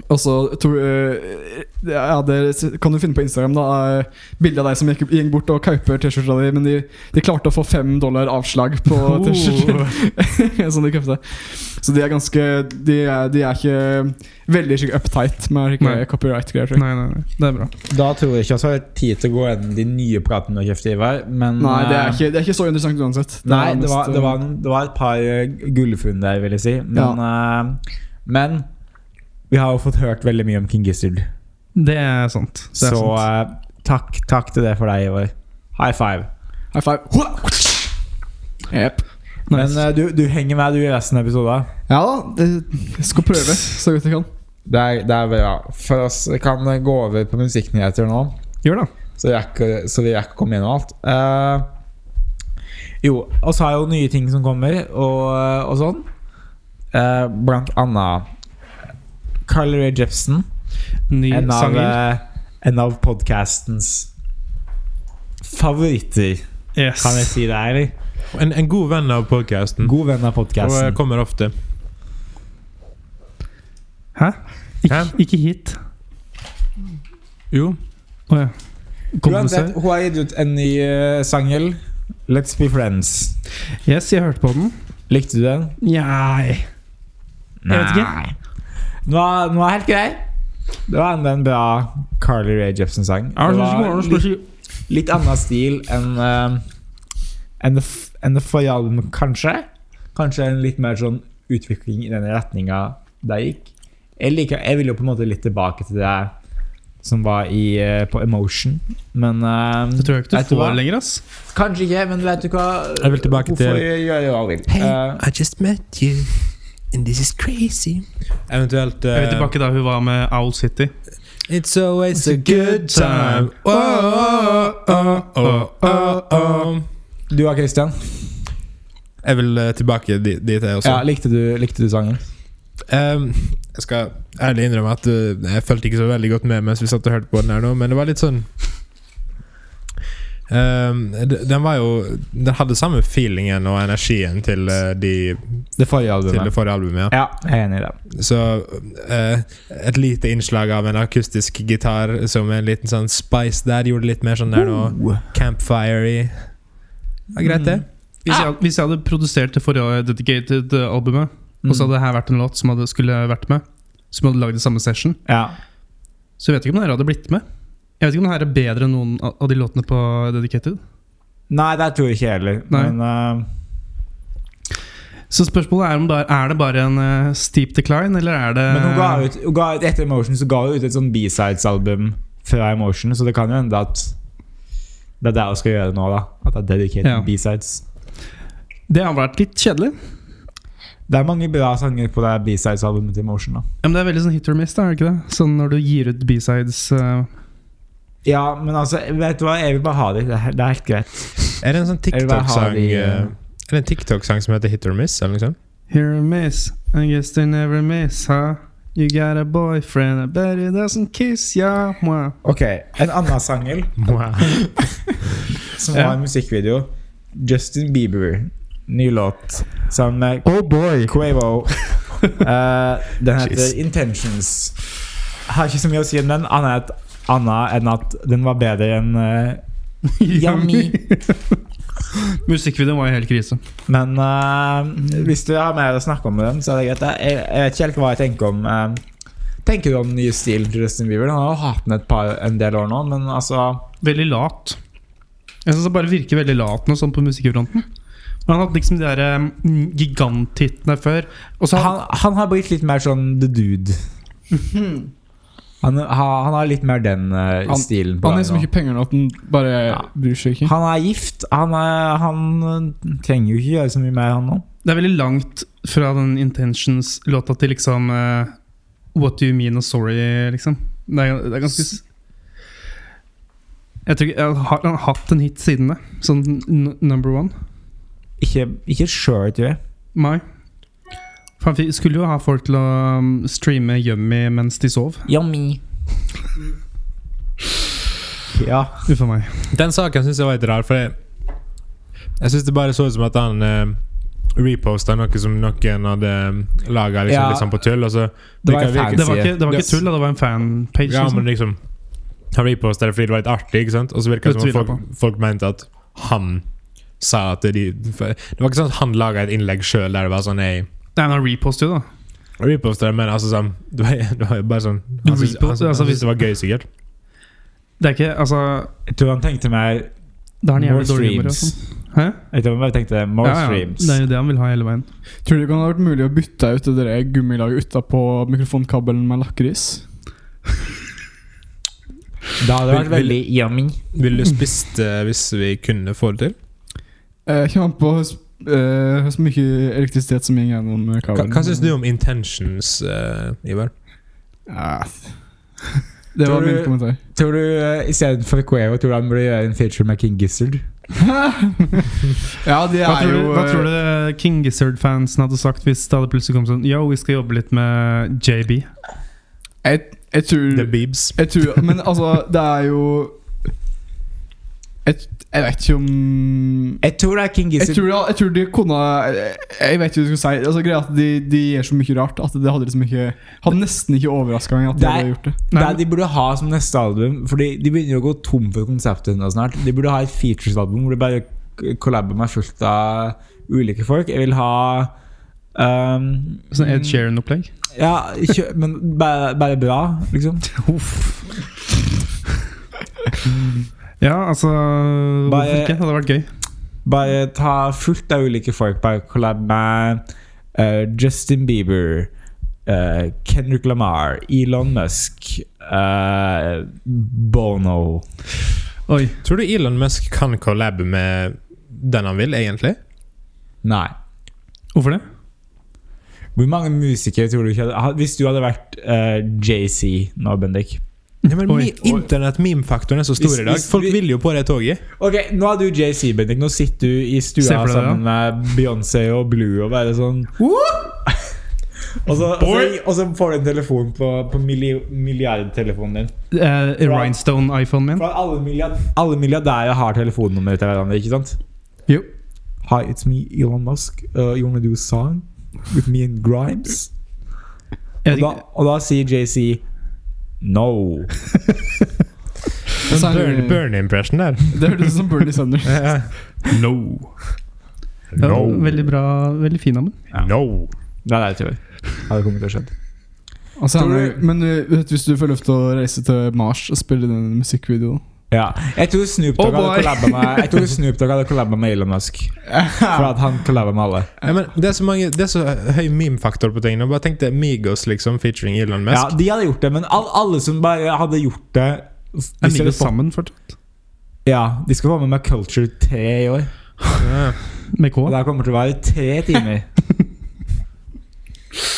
D: Og så to, eh, ja, det kan du finne på Instagram da eh, bilde av deg som gikk, gikk bort og kauper T-skjorta di, men de, de klarte å få fem dollar avslag på
B: Oh.
D: T-skjorter. (laughs) som de kjøpte. Så de er ganske De er, de er ikke veldig skikkelig uptight med
B: Nei.
D: slike copyright-greier.
B: (laughs)
D: tror jeg.
B: Nei, nei, nei. Det er bra.
C: Da tror jeg ikke vi har tid til å gå gjennom de nye platene du har kjøpt, Ivar. Men
D: Nei,
C: eh,
D: det er, ikke, det er ikke så interessant uansett. Det
C: Nei,
D: er
C: det var,
D: mest,
C: det, var, det var et par eh, gullfunn der, vil jeg si. Men, eh, men vi har jo fått hørt veldig mye om King Gizzard.
B: Det er sant. Det
C: Så
B: er sant.
C: eh, takk, takk til det for deg, Ivar. High five.
D: eh, High five. Hua! Jep.
C: Men eh, du, du henger med du i resten av episoden.
D: Ja da, det- jeg skal prøve så godt jeg kan.
C: Det er, det er bra. For oss vi kan eh, gå over på musikknyheter nå.
B: Gjør det.
C: Så vi rekker, så vi rekker å komme gjennom alt. Eh, jo, og så har jo nye ting som kommer, og, og sånn. Eh, blank anna Carl Ray Jepsen,
B: Ny
C: en av,
B: sanger.
C: eh, en av podcastens favoritter,
B: Yes.
C: kan jeg si det, eller?
A: En, en god venn av
B: Mm.
A: podkasten.
C: God venn av
A: Og eh,
C: podcasten.
A: kommer ofte.
B: Hæ? Ikke,
A: Hæ?
B: ikke hit.
A: Jo.
B: Å ja. Kom det
C: Uansett,
B: seg?
C: hun har gitt ut en ny eh, sangel, Let's Be Friends.
B: Yes, jeg hørte på den.
C: Likte du den?
B: Nei. Jeg vet ikke.
C: Den var, den var helt grei. Det var enda en bra Carly Rae Jepsen-sang. Det
A: sånn
C: var litt, litt annen stil enn eh, enn det, f- enn det forrige albumet, kanskje. Kanskje en litt mer sånn utvikling i den retninga det gikk. Jeg, liker, jeg vil jo på en måte litt tilbake til det som var i, eh, på Emotion, men eh,
B: Det tror jeg ikke
C: vet
B: du får
C: hva?
B: lenger, ass.
C: Kanskje ikke, men vet du hva?
A: Jeg vil tilbake til-
C: Hvorfor gjør jeg hva jeg vil? Eh,
E: I just met you, and this is crazy.
A: Eventuelt
B: Jeg vil
A: eh,
B: tilbake da hun var med Owl City.
A: It's always a good time. Oh, oh, oh, oh, oh, oh.
C: du da, Christian?
A: Jeg vil eh, tilbake dit, dit jeg også.
C: Ja, likte, du, likte du sangen?
A: Ehm, jeg skal ærlig innrømme at eh, jeg fulgte ikke så veldig godt med mens vi satt og hørte på den her nå, men det var litt sånn Ehm, d- Den var jo Den hadde samme feelingen og energien til, eh, de,
C: Det forrige
A: til det forrige albumet.
C: Ja, jeg er enig i det.
A: Ja. Så eh, et lite innslag av en akustisk gitar som en liten sånn spice der gjorde det litt mer sånn der nå campfire-y. Ja, greit, det.
B: Hvis jeg, hvis jeg hadde produsert det forrige Dedicated-albumet, og så hadde det her vært en låt som hadde, skulle vært med, som hadde lagd i samme session,
C: Ja.
B: så jeg vet ikke om den her hadde blitt med. Jeg vet ikke om den her er bedre enn noen av av de låtene på Dedicated.
C: Nei, det tror jeg ikke jeg heller.
B: Nei.
C: Men eh,
B: Så spørsmålet er om det er, er det bare en eh, steep decline, eller er det
C: Men hun ga
B: Eh.
C: ut, hun ga ut etter Emotion så ga hun ut et sånn B-sides-album fra Emotion, så det kan jo hende at det er det hun skal gjøre nå, da. At det er dedikert
B: Ja.
C: til B-sides.
B: Det har vært litt kjedelig.
C: Det er mange bra sanger på det B-sides-albumet til Emotion, da.
B: Ja, men det er veldig sånn hit or miss, da, er det ikke det? Sånn når du gir ut B-sides eh,
C: Ja, men altså, vet du hva, jeg vil bare ha det. Det er, det er helt greit.
A: Er det en sånn
C: Jeg vil bare ha
A: TikTok-sang
C: de,
A: eh,
C: eh,
A: Er det en TikTok-sang som heter Hit or Miss? Eller noe sånt?
B: Here and miss, I guess they never miss, huh? You got a boyfriend, I bet he doesn't kiss ya. Mwah.
C: Ok, en annen sangel som
B: Ja.
C: har en musikkvideo. Justin Bieber. Ny låt sammen med
B: (laughs)
C: Quavo. Eh, den heter
A: Jeez.
C: Intentions. Har ikke så mye å si om den, annet annet enn at den var bedre enn eh, Yummy.
B: (laughs) Musikkvideoen var jo helt krise.
C: Men eh, hvis du har mer å snakke om med den, så er det greit. Jeg, jeg vet ikke helt hva jeg tenker om eh, Tenker du om den nye stilen til Justin Bieber? Han har jo hatt den et par, en del år nå, men altså
B: Veldig lat. Jeg syns det bare virker veldig lat nå, sånn på musikkfronten. Men han hadde liksom de der eh, giganthittene før. Og så
C: han, han har blitt litt mer sånn the
D: (laughs)
C: dude. Han, ha- han har litt mer den eh,
D: Han-
C: stilen. på
D: Han har
C: gang
D: så
C: nå.
D: mye penger nå at han bare
C: Ja.
D: bryr seg ikke.
C: han er gift. Han, er, han eh, trenger jo ikke gjøre så mye mer, han nå.
B: Det er veldig langt fra den Intentions-låta til liksom eh, What Do You Mean og Sorry, liksom. Det er, det er ganske s- Jeg tror ikke jeg har, Han har hatt en hit siden det. Sånn n number one.
C: Ikke, ikke sure, tror jeg.
B: Mai. For han fi- skulle jo ha folk til å um, streame Yummy mens de sov.
C: Yummy. Ja.
B: Uff a meg.
A: Den saken syns jeg var litt rar, for jeg, jeg syns det bare så ut som at han eh, reposta noe som noen hadde laga liksom,
C: Ja.
A: litt sånn på tull. Og så
C: Det var en
A: virker-
C: fan.
B: Det var ikke, det var
A: Yes.
B: ikke tull, da. det var en fanpage.
A: Ja,
B: liksom.
A: men liksom Han reposta det fordi det var litt artig, ikke sant? Og så virka det som
B: Det
A: om
B: tviler jeg
A: folk, folk mente at han sa at de for Det var ikke sånn at han laga et innlegg sjøl der det var sånn Hei,
B: Nei, men han repostet jo, da.
A: reposta det, men altså sånn (laughs) Det var, det var jo bare sånn
B: Du
A: Han syntes
B: reposter,
A: han syntes- han
B: altså, hvis-
A: syntes det var gøy, sikkert.
B: Det er ikke Altså,
C: Jeg tror han tenkte mer
B: da har han
C: More
B: jævlig dårlig humor. og
C: streams.
B: sånn. Hæ?
C: Jeg tror han bare tenkte more
B: Ja, ja.
C: streams.
B: Det er jo det han vil ha hele veien.
D: Tror du det kan ha vært mulig å bytte ut det der gummilaget utapå mikrofonkabelen med lakris?
C: Da hadde det vært
A: Vil-
C: veldig yummy.
A: Ville du spist det hvis vi kunne få det til?
D: Eh, Kommer an på s- eh, så mye elektrisitet som går gjennom eh,
A: Hva,
D: kabelen.
A: hva syns du om intentions, eh, Ivar?
D: Ja. (laughs) Det
C: Tror
D: var
C: du-
D: min kommentar. (laughs)
C: Tror du eh, istedenfor Quavo tror du han burde gjøre en feature med King Gizzard?
D: ja, de er
B: Hva tror,
D: jo eh,
B: du, hva tror du King Gizzard-fansen hadde sagt hvis det hadde plutselig kom sånn Yo, vi skal jobbe litt med JB.
D: Jeg, jeg tror
A: The Beebs.
D: Jeg tror, Men altså, det er jo Jeg, jeg vet ikke om
C: Jeg tror det er King
D: jeg
C: Gizzard.
D: tror, jeg tror de kunne Jeg jeg vet ikke hva jeg skal si. Altså, greia er at de, de gjør så mye rart at det hadde liksom ikke Hadde nesten ikke overraska meg at de
C: Nei.
D: hadde gjort det.
C: Det er de burde ha som neste album Fordi de begynner jo å gå tom for konseptet nå snart. De burde ha et features-album hvor de bare k- collaber med fullt av ulike folk. Jeg vil ha um,
B: Sånn Ed Sheeran-opplegg.
C: Ja, kjø, men bare, bare bra, liksom.
B: Ja, altså Hvorfor
C: Bare-
B: ikke? Det hadde vært gøy.
C: Bare ta fullt av ulike folk. Bare collab med eh, Justin Bieber, eh, Kendrick Lamar, Elon Musk, eh, Bono
B: Oi.
A: Tror du Elon Musk kan collabe med den han vil, egentlig?
C: Nei.
B: Hvorfor det?
C: Hvor mange musikere tror du ikke hadde ha- Hvis du hadde vært eh, JC nå, Bendik
A: Ja, men
B: Oi.
A: mi- Internett-meme-faktoren er så stor
C: Hvis-
A: i dag.
C: hvis
A: Folk
C: vi-
A: vil jo på det toget.
C: Ok, nå er du JC, Bendik. Nå sitter du i stua
B: Se for deg det,
C: sammen med Beyoncé og Blue og bare sånn og, så, og, så,
A: Boy.
C: og så får du en telefon på, på milli, milliardtelefonen din.
B: Eh, Rhinestone-iPhonen min?
C: For alle, milliard, alle milliardærer har telefonnummeret til hverandre, ikke sant?
B: Jo.
C: Hi, it's me, Elon Musk. Uh, you wanna do a song with me and Grimes?
B: Jeg
C: Og da,
B: vet ikke.
C: og da sier JC no.
D: Og så er det-
A: Sånn Burn, burn impression (laughs) der.
D: Det hørtes ut som
C: (laughs)
D: Bernie Sanders.
A: no.
B: Ja,
A: No.
B: Veldig bra. Veldig fin av den.
A: No.
C: Nei, det tror jeg. Hadde kommet til å skjedd.
D: Altså,
C: Tror
D: han er- men du vet, hvis du får lov til å reise til Mars og spille den musikkvideoen
C: Ja. Jeg tror Snoop Dogg
B: Oh boy.
C: hadde collabet med Jeg tror Snoop Dogg hadde collabet med Elon Musk. For at han collabet med alle.
A: Ja, men det, er så mange, det er så høy meme-faktor på tingene. Bare tenk deg Migos liksom, featuring Elon
C: Ja,
A: Musk.
C: De hadde gjort det, men all, alle som bare hadde gjort det hvis de
B: Er de
C: hadde
B: jo
C: fått-
B: sammen fortsatt?
C: Ja, De skal være med med Culture 3 i år.
A: Ja.
B: Med K?
C: Og det her kommer til å være tre timer.
B: (laughs)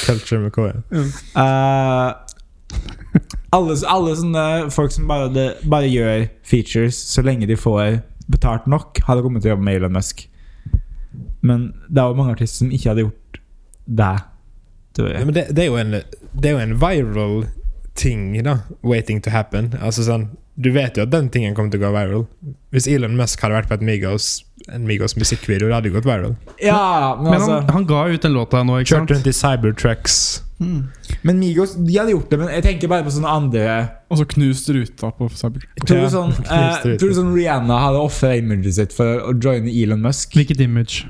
A: Culture med K, ja.
C: Eh, alle, alle sånne folk som bare, hadde- bare gjør features så lenge de får betalt nok, hadde kommet til å jobbe med Elon Musk. Men det er jo mange artister som ikke hadde gjort det. Tror
A: Ja,
C: jeg.
A: men det, det, er jo en, det er jo en viral ting, da. Waiting to happen. Altså sånn Du vet jo at den tingen kommer til å gå viral. Hvis Elon Musk hadde vært på et Migos, en Migos musikkvideo, det hadde gått viral.
C: Ja, men,
B: Men
C: altså
B: han, han ga ut den låta nå, ikke
A: Kjørt
B: sant?
A: rundt i cybertrucks.
C: Men Migos de hadde gjort det, men jeg tenker bare på sånne andre
D: Og så knust ruta på Cyber.
C: Tror
A: Ja,
C: du
A: (laughs)
C: sånn, eh,
A: knust ut.
C: tror du sånn Rihanna hadde ofra imaget sitt for å joine Elon Musk?
B: Hvilket image?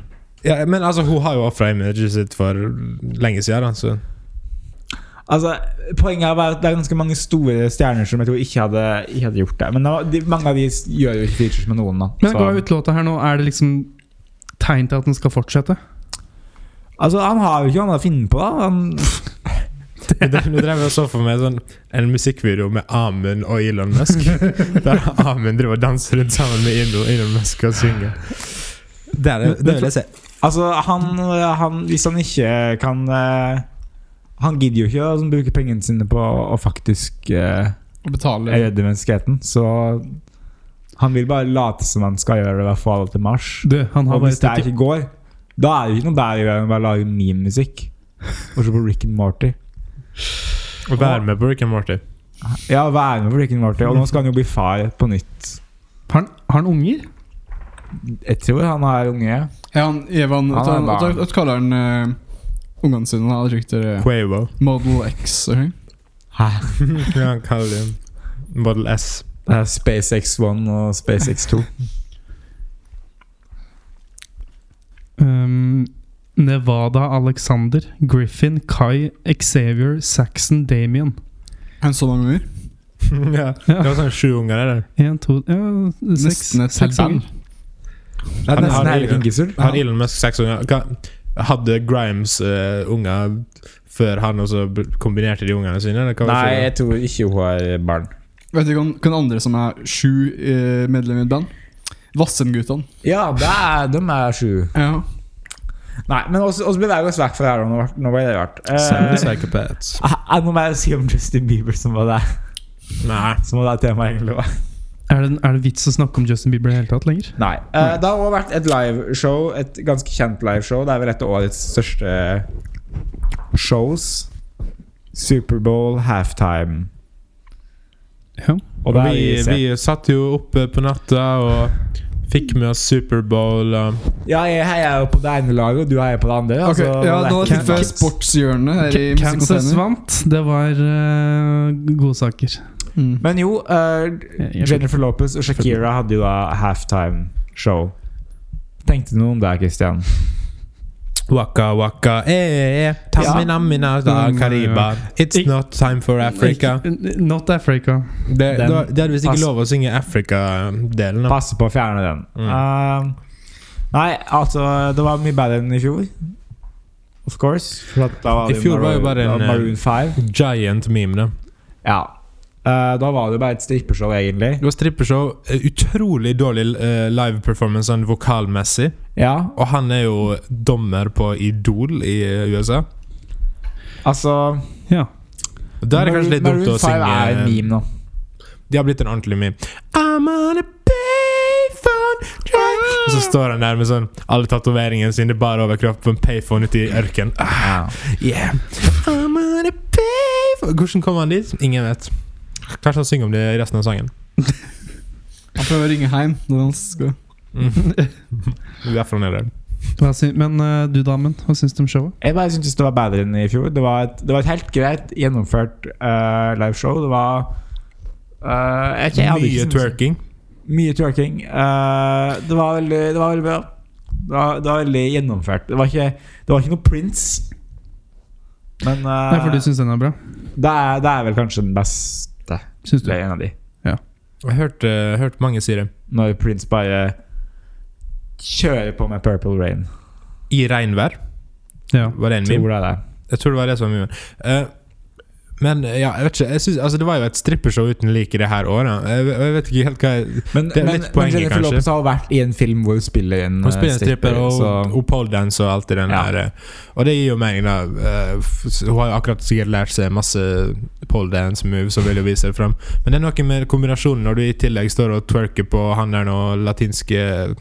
A: Ja, men altså, hun har jo ofra imaget sitt for lenge siden, da, så
C: Altså, Poenget er bare at det er ganske mange store stjerner som jeg tror ikke hadde, ikke hadde gjort det. Men da- de, mange av de s- gjør jo ikke features med noen. da
B: Men han
C: Så-
B: ga ut låta her nå. Er det liksom tegn til at den skal fortsette?
C: Altså, Han har jo ikke noe annet å finne på. da han,
A: Nå drev jeg og så for meg sånn, en musikkvideo med Amund og Elon Musk. Der Amund driver og danser rundt sammen med Elon, Elon Musk og synger. Det er det- det vil jeg se.
C: Altså, han, han Hvis han ikke kan eh, Han gidder jo ikke å sånn, bruke pengene sine på å å faktisk eh,
D: Og betale
C: redde menneskeheten, så han vil bare late som han skal gjøre det ved å få alle til Mars.
B: Du, han har
C: Og hvis det
B: bare
C: ikke går, da er det ikke noe bedre å gjøre enn å bare lage meme-musikk. Og se på Rick and Morty.
A: Og være med på Rick and Morty.
C: Ja, være med på Rick and Morty. Og nå skal han jo bli far på nytt.
B: Har han, har han unger?
C: Jeg tror han er unge.
D: Ja, han, Evan,
C: Han er
D: vet du han-
C: barn.
D: vet du hva kaller han eh, ungene sine? da? Jeg tror ikke det er
A: Quavo.
D: eh, Model X. eller?
C: Hæ?
A: (laughs) Ja, han kaller det Model S. (laughs)
C: Det er SpaceX 1 og SpaceX (laughs) 2.
B: Um, Nevada, Alexander, Griffin, Kai, Xavier, Saxon, Damien.
D: Han så mange unger.
A: ja, det var sånn sju unger der.
B: Én, to Ja, seks.
D: Nesten et helt
B: seks
D: band.
B: unger.
C: Det er
A: Han- han
C: nesten
A: er
C: hele
A: jo-
C: King Gizzard.
A: Har Elon Musk seks unger? Hva- Hadde Grimes eh, unger før han også b- kombinerte de ungene sine? Eller hva var
C: Nei,
A: det?
C: jeg tror ikke hun har barn.
D: Vet du hvem hvem andre som er sju eh, medlemmer i et band? Vassendguttene.
C: Ja, det er, de er sju.
D: Ja.
C: Nei, men oss, oss beveger oss vekk fra det her. Nå, nå ble det rart. Eh,
A: Send psychopaths.
C: jeg, jeg må bare si om Justin Bieber som var det,
A: Nei.
C: som var det temaet egentlig var.
B: Er det, er det vits å snakke om Justin Bieber i det hele tatt lenger?
C: Nei. Eh, det har også vært et liveshow, et ganske kjent liveshow. Det er vel et av årets største shows. Superbowl halftime.
B: Ja.
C: Og
A: Og
C: det har
A: vi,
C: vi sett.
A: vi satt jo oppe på natta og fikk med oss Superbowl. Og
C: Ja, jeg heier jo på det ene laget, og du heier på det andre.
D: Ok,
C: altså,
D: ja,
C: det er
D: Nå
C: ikke-
D: tipper jeg sportshjørnet her i
B: Kansas
D: Musikkcontainer.
B: vant. Det var eh, godsaker.
D: Mm.
C: Men jo, eh,
B: Jeg- jeg-
C: Jennifer Lopez og Shakira hadde jo da halftime-show. Tenkte du noe om det, Christian?
A: waka waka eh, eh, taminamina da kariba.
C: Mm.
A: It's
B: Ik-
A: not time for Africa.
B: eh, Not Africa.
A: Det,
C: Den-
A: da, det er visst
C: pass.
A: ikke lov å synge Africa-delen. da.
C: Passe på å fjerne den.
A: Mm.
C: Eh, nei, altså Det var mye bedre enn i fjor. Of course. For at da var
A: I
C: det
A: fjor var jo bare en, eh,
C: da Maroon 5.
A: Giant meme, det.
C: Ja. Eh, da var det jo bare et strippeshow, egentlig.
A: Det var strippeshow. eh, Utrolig dårlig eh, live performance sånn vokalmessig.
C: Ja,
A: Og han er jo dommer på Idol i eh, USA.
C: altså
B: Ja.
A: Da er det kanskje litt dumt å synge eh,
C: Maroon 5 er en meme nå.
A: De har blitt en ordentlig meme. I'm on a payphone drive. Og så står han der med sånn alle tatoveringene sine bare over kroppen. Payphone ute i ørkenen. Ah,
C: Ja.
A: yeah. I'm on a payphone Hvordan kom han dit? Ingen vet. Kanskje han synger om det i resten av sangen.
D: Han prøver å ringe heim. når han skal-
A: Derfor han er der.
B: Hva sy Men eh, du, damen, hva syns du om showet?
C: Jeg bare syntes det var bedre enn i fjor. Det var et, det var et helt greit gjennomført eh, liveshow. Det var eh, jeg, jeg hadde ikke
A: Mye
C: syntes-
A: twerking.
C: Mye twerking. Eh, det, var veldig, det var veldig bra. Det var, det var veldig gjennomført. Det var ikke, det var ikke noe Prince. Men eh,
B: Nei, for
A: Ah.
B: du syns den er bra?
C: det, er, det er vel kanskje den beste.
B: Syns du?
C: Eller en av de.
A: Jeg hørte, hørte mange si det.
C: Når Prince bare kjører på med Purple Rain.
A: I regnvær
B: Ja.
A: var det en meme.
C: Tror det er det.
A: Jeg tror det var det som var memen. Eh, men ja, jeg vet ikke jeg synes, altså, Det var jo et strippeshow uten like det her året. Jeg, jeg vet ikke helt hva jeg
C: Men,
A: Det er
C: men,
A: litt poenget,
C: men Jennifer
A: kanskje.
C: Lopez har vært i en film hvor hun spiller en
A: Hun spiller
C: eh,
A: en stripper og,
C: så-
A: og poledance og alt det den
C: Ja.
A: der. eh, Og det gir jo meg, da eh, f- Hun har jo akkurat sikkert lært seg masse poledance moves og vil jo vise det fram. Men det er noe med kombinasjonen når du i tillegg står og twerker på han der nå latinske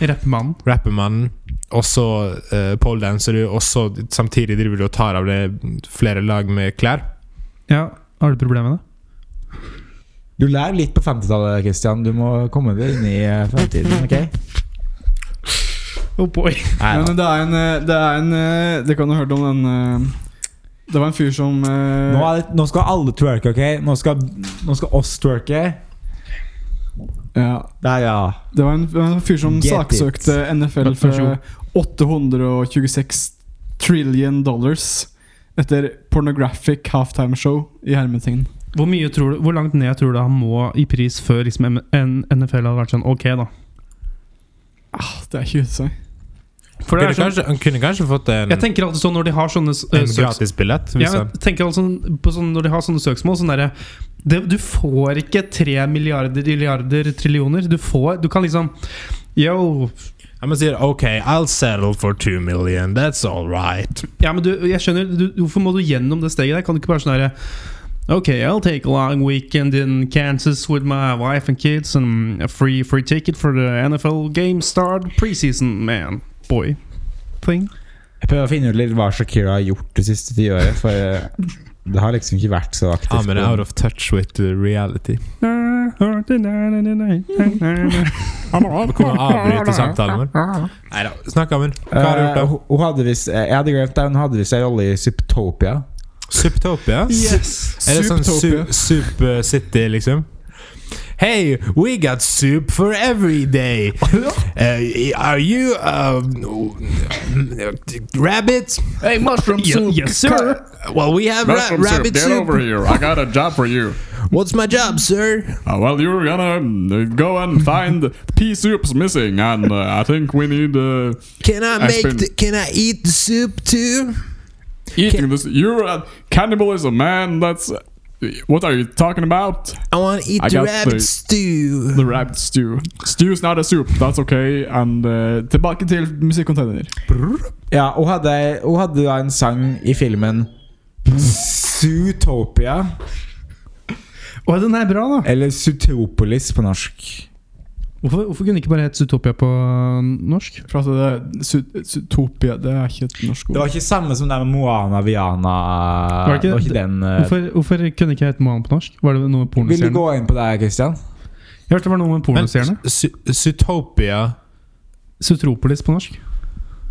B: Rappmannen.
A: rappermannen, og så uh, poledancer du, og så samtidig driver du og tar av deg flere lag med klær.
B: Ja, har du problemer med det?
C: Du lærer litt på 50-tallet, Christian. Du må komme deg inn i eh, fremtiden. ok?
B: Oh boy.
C: Nei,
D: Ja, men det er en eh, Det er en eh, Det kan du ha hørt om den eh, Det var en fyr som eh,
C: Nå, er det, nå skal alle twerke, ok? Nå skal, nå skal oss twerke.
D: ja,
C: Der, ja.
D: Det var en, det var en fyr som
C: Get
D: saksøkte NFL
B: Vær- vær så
D: for 826 trillion dollars etter pornographic halftime show i hermetegn.
B: Hvor, mye tror du, hvor langt ned tror du han må i pris før liksom M- N- NFL hadde vært sånn ok, da?
D: Ah, det er ikke utsagn.
B: For det
A: kunne,
B: er sånn,
A: kanskje, han kunne kanskje fått en,
B: jeg tenker alltid sånn når de har sånne s- øh,
A: en liksom.
B: søks-
A: gratisbillett.
B: Ja,
A: hvis han-
B: jeg tenker altså sånn- på sånn, Når de har sånne søksmål sånn derre det- Du får ikke tre milliarder milliarder trillioner. Du får Du kan liksom Yo!
A: Ja, men sier OK, I'll settle for two million. That's all right.
B: Ja, men du, jeg skjønner du, Hvorfor må du gjennom det steget der? Kan du ikke bare sånn derre Ok, I'll take a long weekend in Kansas with my wife and kids and a free free ticket for the NFL game start preseason, man. Boy. Thing.
C: Jeg prøver å finne ut litt hva Shakira har gjort det siste tiåret. For eh, det har liksom ikke vært så aktivt.
A: Ja, Ah, men out of touch with uh, reality. Vi kommer å avbryte samtalen vår. Nei da, snakk om den. Hva har du
C: Eh,
A: gjort,
C: hun- hun hadde visst eh, Jeg hadde glemt det. Hun hadde visst en rolle i Subtopia.
A: da? Subtopia?
B: Yes!
A: Er det sånn su
D: Souptopia.
A: Soup uh, City, liksom? Hey, we got soup for every
B: (laughs)
A: day. Uh, are you um, rabbit?
F: Hey, mushroom
B: Ye-
F: soup.
B: yes, sir.
A: Well, we have ra
F: Mushroom soup,
A: rabbit
F: get
A: soup.
F: over here. I got a job for you.
A: What's my job, sir?
F: Uh, well, you're gonna mm, go and find the pea soup's missing, and uh, I think we need uh,
A: Can I
F: I
A: make?
F: spin-
A: the, can I eat the soup too?
F: eating this. You're a cannibalism, man. That's What are you talking about?
A: I want to eat
F: I got the-
A: stew.
F: The rabbit stew. Stew's not a soup, that's okay. And eh, tilbake til musikkonteiner.
C: Ja, hun hadde, hun hadde da en sang i filmen Zootopia,
B: Å, den er bra, da!
C: eller Zootropolis på norsk.
B: Hvorfor, hvorfor kunne det ikke bare hett Zootopia på uh, norsk?
F: For at det er Zootopia, det er ikke et norsk
C: Det
F: ord.
C: var ikke samme som det med Moana Viana.
B: Var det ikke-
C: det var ikke den eh,
B: Hvorfor, hvorfor kunne det ikke hett Mohan på norsk? Var det noe med
C: Vil du
B: pornostjerne?
C: gå inn på det, her, Christian?
B: Jeg hørte det var noe med
A: Men
B: pornostjerne.
A: Zo- Zootopia
B: Zootropolis på norsk.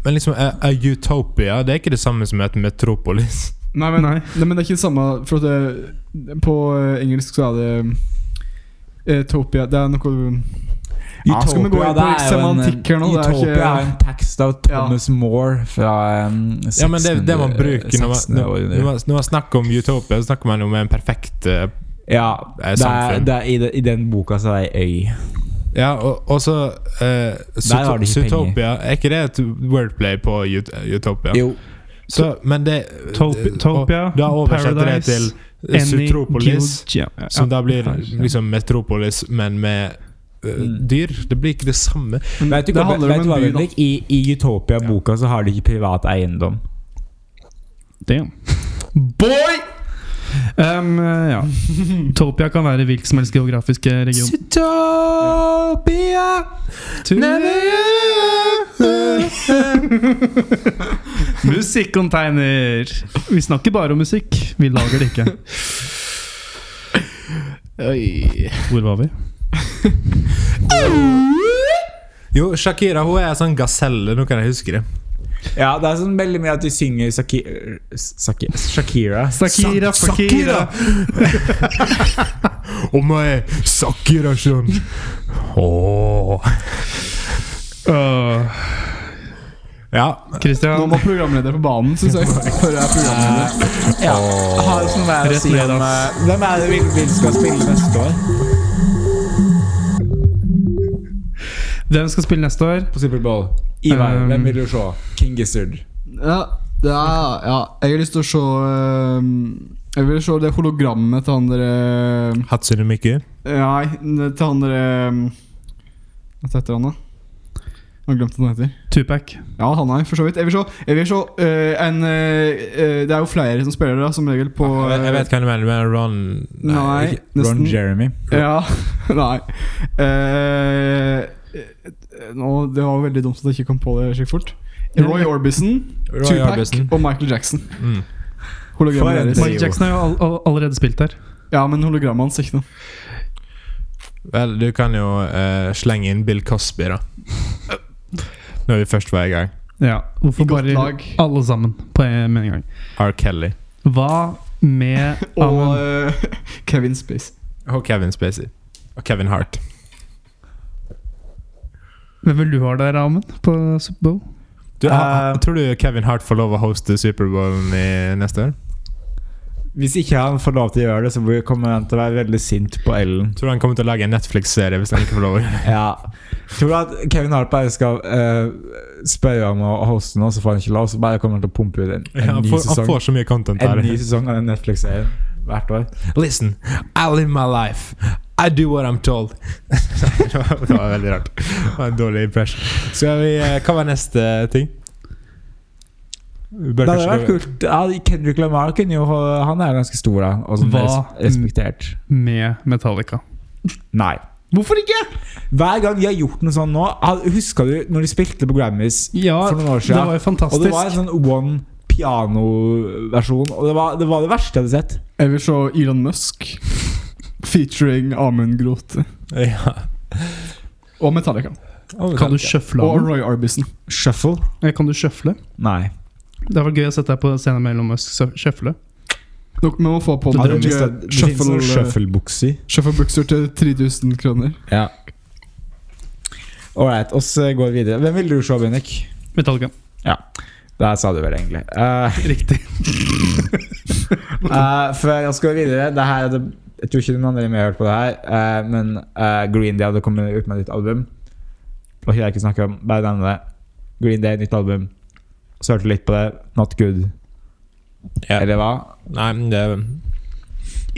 A: Men liksom, er, er Utopia Det er ikke det samme som et metropolis. (laughs)
F: Nei, men,
B: Nei.
F: nei. men det er ikke det samme. For at det, på eh, engelsk så er det eh, Topia Det er noe Ja, skal vi gå inn på
C: det er jo en-
F: semantikk her nå? Det er
C: Utopia
F: ikke-
C: er en tekst av Thomas More fra um,
A: Ja, men det, det man bruker når man,
C: 1600
A: når, når man, når man snakker om Utopia, så snakker man om en perfekt eh,
C: Ja,
A: eh,
C: det er,
A: samfunn.
C: det er, i, den- I den boka så er det ei øy.
A: Ja, og, og så eh,
C: Der har de ikke
A: Zootopia Er ikke det et wordplay på ut, Utopia?
C: Jo.
A: Så, men det
B: Topi- Topia,
A: og Da oversetter det til
B: Paradise,
A: eh, Zootropolis,
B: Guild- ja, ja.
A: som da blir
B: kanskje.
A: liksom metropolis, men med eh,
C: Mm.
A: dyr. Det blir ikke det samme.
C: Vet du,
F: det
C: hva-
F: handler
C: vet
F: om
C: du hva,
F: en by, da.
C: Bendik? I, I Utopia-boka så har de ikke privat eiendom.
B: Damn. Boy! Um, (laughs) ja. Topia kan være hvilken som helst geografiske region.
A: Zootopia
B: (laughs) Musikkonteiner! Vi snakker bare om musikk. Vi lager det ikke.
D: Oi.
B: Hvor var vi?
A: Jo, Shakira hun er en sånn gaselle. Nå kan jeg huske det.
C: Ja, det er sånn veldig mye at de synger Shaki- Shaki- Shakira.
B: Sakira, Fakira.
A: Omae, Shakira-shun. Åh.
B: Åh,
A: Ja.
F: Nå
B: Christian,
F: må programleder på banen, syns
C: (laughs)
F: jeg. Hører jeg programleder.
C: Ja. Har sånn vær å
B: Rett
C: si
B: ned,
C: om
B: ass.
C: eh, Hvem er det vi vil skal spille neste år?
B: hvem skal spille neste år?
C: På Super Bowl. Ivar,
B: Um,
C: hvem vil du se? King Gizzard.
D: Ja, ja, ja. Jeg har lyst til å se ehm, Jeg vil se det hologrammet til han eh, dere
A: Hatsune Miku.
D: Eh, Nei, det- til han dere ehm, Hva heter han, da? Jeg har glemt hva han heter.
B: Tupac.
D: Ja, han er for så vidt. Jeg vil se, jeg vil se eh, en eh, eh, Det er jo flere som spiller det, da, som regel, på
A: Ah,
D: eh,
A: Jeg vet- jeg vet hva du mener, men Ron
D: Nei,
A: ikke-
C: Ron
D: nesten.
C: Jeremy.
D: Ja, (laughs) nei. Eh, nå, det var veldig dumt at jeg ikke kom på det skikkelig fort. Roy Orbison,
A: Roy
D: Tupac
A: Orbison.
D: og Michael Jackson.
A: Mm.
D: Hologrammet
C: For en
D: deres.
B: Michael Jackson har jo all, all, allerede spilt der.
D: Ja, men hologrammet hans, ikke noe.
A: Vel, du kan jo eh, slenge inn Bill Cosby, da. Når vi først var i gang.
B: Ja, Hvorfor
D: I godt
B: bare
D: lag.
B: alle sammen på en med en gang?
A: R. Kelly.
B: Hva med
D: Og
B: Amon?
D: eh, (laughs) Kevin Space.
A: Og Kevin Spacey. Og Kevin Hart.
B: Hvem vil du ha der, Amund, på Superbowl?
A: Du, ha-
C: Eh,
A: tror du Kevin Hart får lov å hoste Superbowlen i neste år?
C: Hvis ikke han får lov til å gjøre det, så kommer han til å være veldig sint på (laughs) Ellen.
A: Tror du han kommer til å lage en Netflix-serie hvis han ikke får lov å (laughs) gjøre det?
C: Ja. Tror du at Kevin Hart bare skal eh, spørre om å hoste nå, så får han ikke lov? Så bare kommer han til å pumpe ut en, en
A: Han
C: ny
A: får, han
C: sesong
A: får så mye content
C: En ny
A: der.
C: sesong av den Netflix-serien hvert år.
A: Listen, I live my life. I do what I'm (laughs) told. det var det var veldig rart. Det var en dårlig impression. Skal vi, eh, hva var neste ting? Vi bør
C: Det hadde
A: kanskje-
C: vært kult. Ja, Kendrick Lamar kunne jo Han er jo ganske stor, da. Og sånn
B: Hva?
C: res respektert.
B: Med Metallica.
C: Nei.
B: Hvorfor ikke?
C: Hver gang de har gjort noe sånn nå Huska du når de spilte på Grammys
B: Ja,
C: for noen år
B: det var
C: siden?
B: jo fantastisk.
C: og det var en sånn one piano-versjon. Og det var, det var det verste jeg hadde sett.
D: Jeg vil se Elon Musk featuring Amund Grote.
A: Ja.
D: Og Metallica.
C: sånn
B: Kan du sjøfle
D: Og
B: Amund?
D: Roy Orbison.
C: Shuffle?
B: Eh, Kan du sjøfle?
C: Nei.
B: Det hadde vært gøy å sette deg på scenen mellom Musk og sjøfle.
D: Dere må få på
C: Har du lyst
D: dere
C: til- Det finnes
D: shuffle,
C: noen shufflebukser.
D: shufflebukser til 3000 kroner.
C: Ja. Ålreit, oss eh, går videre. Hvem ville du se, Bennik?
B: Metallica.
C: Der sa du vel egentlig. Eh,
B: Riktig.
C: Eh, før jeg skal gå videre det her, er det, Jeg tror ikke noen andre har hørt på det her, eh, men eh, Green Day hadde kommet ut med et nytt album. Og ikke jeg ikke snakke om, bare nevne det. Green Day, nytt album. Så hørte jeg litt på det. Not good.
A: Ja.
C: Eller hva?
A: Nei, men det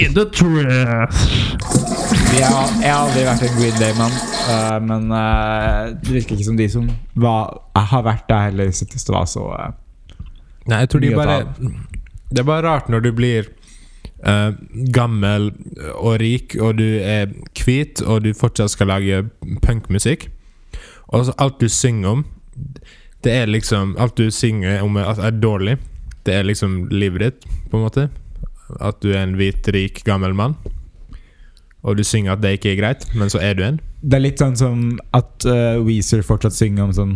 B: In the trash.
C: Jeg har, jeg har aldri vært en Green Day-mann, eh, men eh, det virker ikke som de som var, har vært der heller, synes det var så eh,
A: Nei, jeg tror de
C: Mye å
A: bare
C: ta
A: Det er bare rart når du blir eh, gammel og rik, og du er hvit, og du fortsatt skal lage punkmusikk. Og så alt du synger om, det er liksom Alt du synger om er, er dårlig. Det er liksom livet ditt, på en måte. At du er en hvit, rik, gammel mann. Og du synger at det ikke er greit, men så er du en.
C: Det er litt sånn som at eh, Weezer fortsatt synger om sånn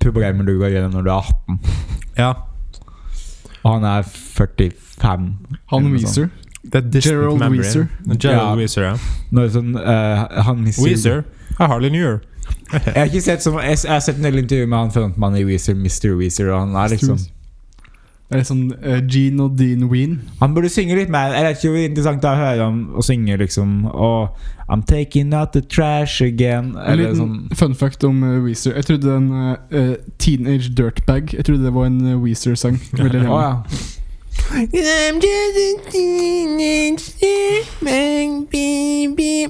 C: problemer du går gjennom når du er 18,
A: Ja,
C: og han er 45.
D: Han
C: eller noe sånt.
D: Weezer.
A: det er distant
D: Gerald
A: memory.
D: Weezer.
A: Gerald
C: Ja.
A: Weezer, ja.
C: Når sånn, eh, han mister
A: Weezer. I hardly knew her.
C: Jeg har ikke sett som, jeg, jeg har sett en del intervjuer med han frontmannen i Weezer, Mr. Weezer, og han er liksom
D: Det er litt sånn eh, Gene og Dean Ween.
C: Han burde synge litt mer. Jeg vet ikke hvor interessant det er å høre om å synge liksom Og I'm taking out the trash again.
D: En
C: Eller
D: liten
C: sånn
D: fun fact om eh, Weezer. Jeg trodde en eh, eh, Teenage Dirtbag Jeg trodde det var en eh, Weezer-sang. Veldig
C: Å
D: lenge.
C: (laughs) ja.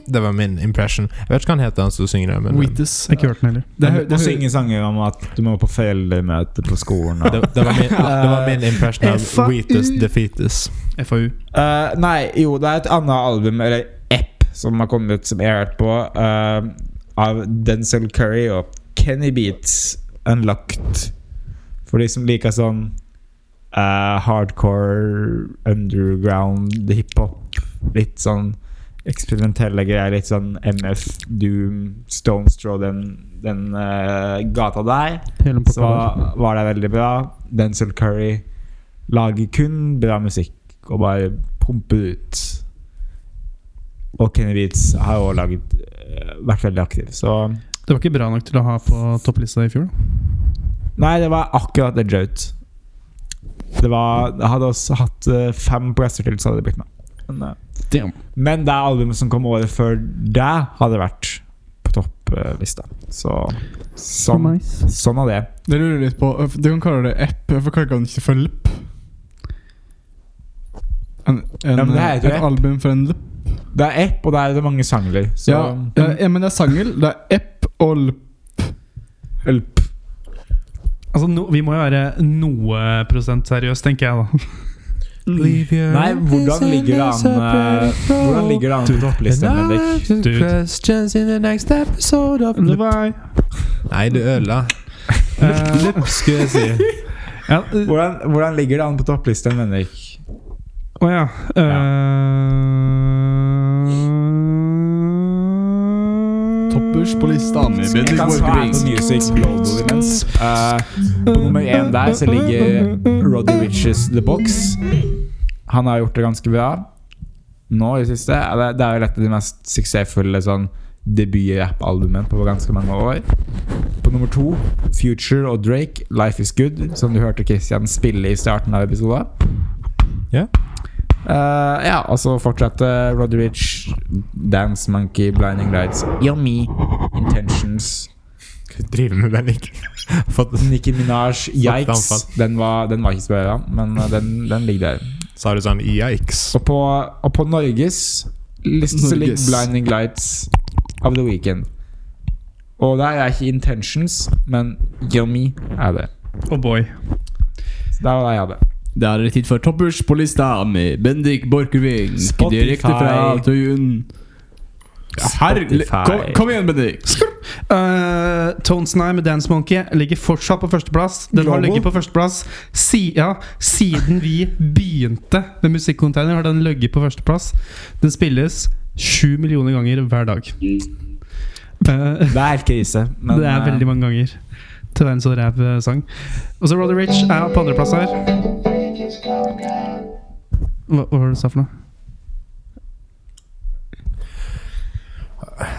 A: Det var min impression. Jeg vet ikke hva han heter, han som synger det. Men det,
D: Wheatus.
B: Jeg har ikke hørt den heller.
D: Det,
C: Å
D: det,
C: synge sanger om at du må på foreldremøte på skolen og
A: det, var min, det var min impression av Wheatus the Fetus.
B: FAU.
C: Eh, nei, jo, det er et annet album, eller app, som har kommet ut, som jeg har hørt på, eh, av Denzel Curry og Kenny Beats Unlocked. For de som liker sånn eh, hardcore, underground hiphop. Litt sånn eksperimentelle greier. Litt sånn MF, Doom, Stone Straw, den, den eh, gata der.
B: Hele
C: Så var det veldig bra. Denzel Curry lager kun bra musikk og bare pumper ut. Og Kenny Beats har også laget, eh, vært veldig aktiv. Så
B: Det var ikke bra nok til å ha på topplista i fjor. da.
C: Nei, det var akkurat det Jout. Det var jeg Hadde også hatt eh, fem presser til, så hadde det blitt meg. Men, eh,
B: Damn.
C: men det albumet som kom året før det, hadde vært på topplista. Så sånn,
B: nice.
C: sånn er det.
D: det lurer jeg litt på. Eh, Du kan kalle det app. Hvorfor kaller han ikke for LP? En, en,
C: Ja, men det heter jo
D: eh, et
C: app.
D: album for en LP.
C: Det er app, og der er det mange sangler. Så
D: Ja, eh, ja, ja, men det er sangel. Det er app og LP.
C: Ølp.
B: Altså, no, vi må jo være noe prosent seriøs, tenker jeg, da.
C: Nei, hvordan ligger det an eh, Hvordan ligger det an på topplisten, Henrik?
B: Goodbye.
A: Nei, du ødela.
B: Eh,
A: Skulle jeg si.
B: ja, eh,
C: Hvordan, hvordan ligger det an på topplisten, Henrik?
B: Å ja. Eh,
D: Toppers på lista.
C: Jeg kan svare på Music Global imens. Eh, på nummer én der så ligger Roddy Riches The Box. Han har gjort det ganske bra nå i det siste. Eh, Det det er jo et av de mest suksessfulle sånn debut-rapp-albumene på ganske mange år. På nummer to, Future og Drake, 'Life Is Good', som du hørte Christian spille i starten av episoden.
A: Ja.
C: Eh, ja, og så fortsette Rodrich, Dance Monkey, Blinding Lights, Yummy, Intentions,
A: Hva driver du med, Bennik? (laughs) Fått-
C: Nicki Minaj, Yikes.
A: anfall.
C: Den var, den var ikke så bra, men eh, den, den ligger der.
A: Sa du sånn yikes?
C: Og på, og på Norges liste så ligger
D: Norges.
C: Blinding Lights of the Weekend. Og der er ikke Intentions, men Yummy er det.
B: oh boy.
C: Så der var det jeg hadde.
D: Det er det tid for Toppers på lista med Bendik Borchgrevink.
C: Spotify.
D: Direkte fra Tøyen. Herregud.
C: Spotify.
D: Kom, kom igjen, Bendik.
B: Uh, Tonesnai med Dance Monkey ligger fortsatt på førsteplass. Den har
D: Global?
B: ligget på førsteplass si, ja, siden vi begynte med Musikkcontainer. har Den ligget på førsteplass Den spilles sju millioner ganger hver dag. Eh,
C: Det er helt krise, men
B: det er
C: eh,
B: veldig mange ganger til å være en så ræv eh, sang. Og så Roddy Rich er på andreplass her. Hva, hva var det du sa for noe?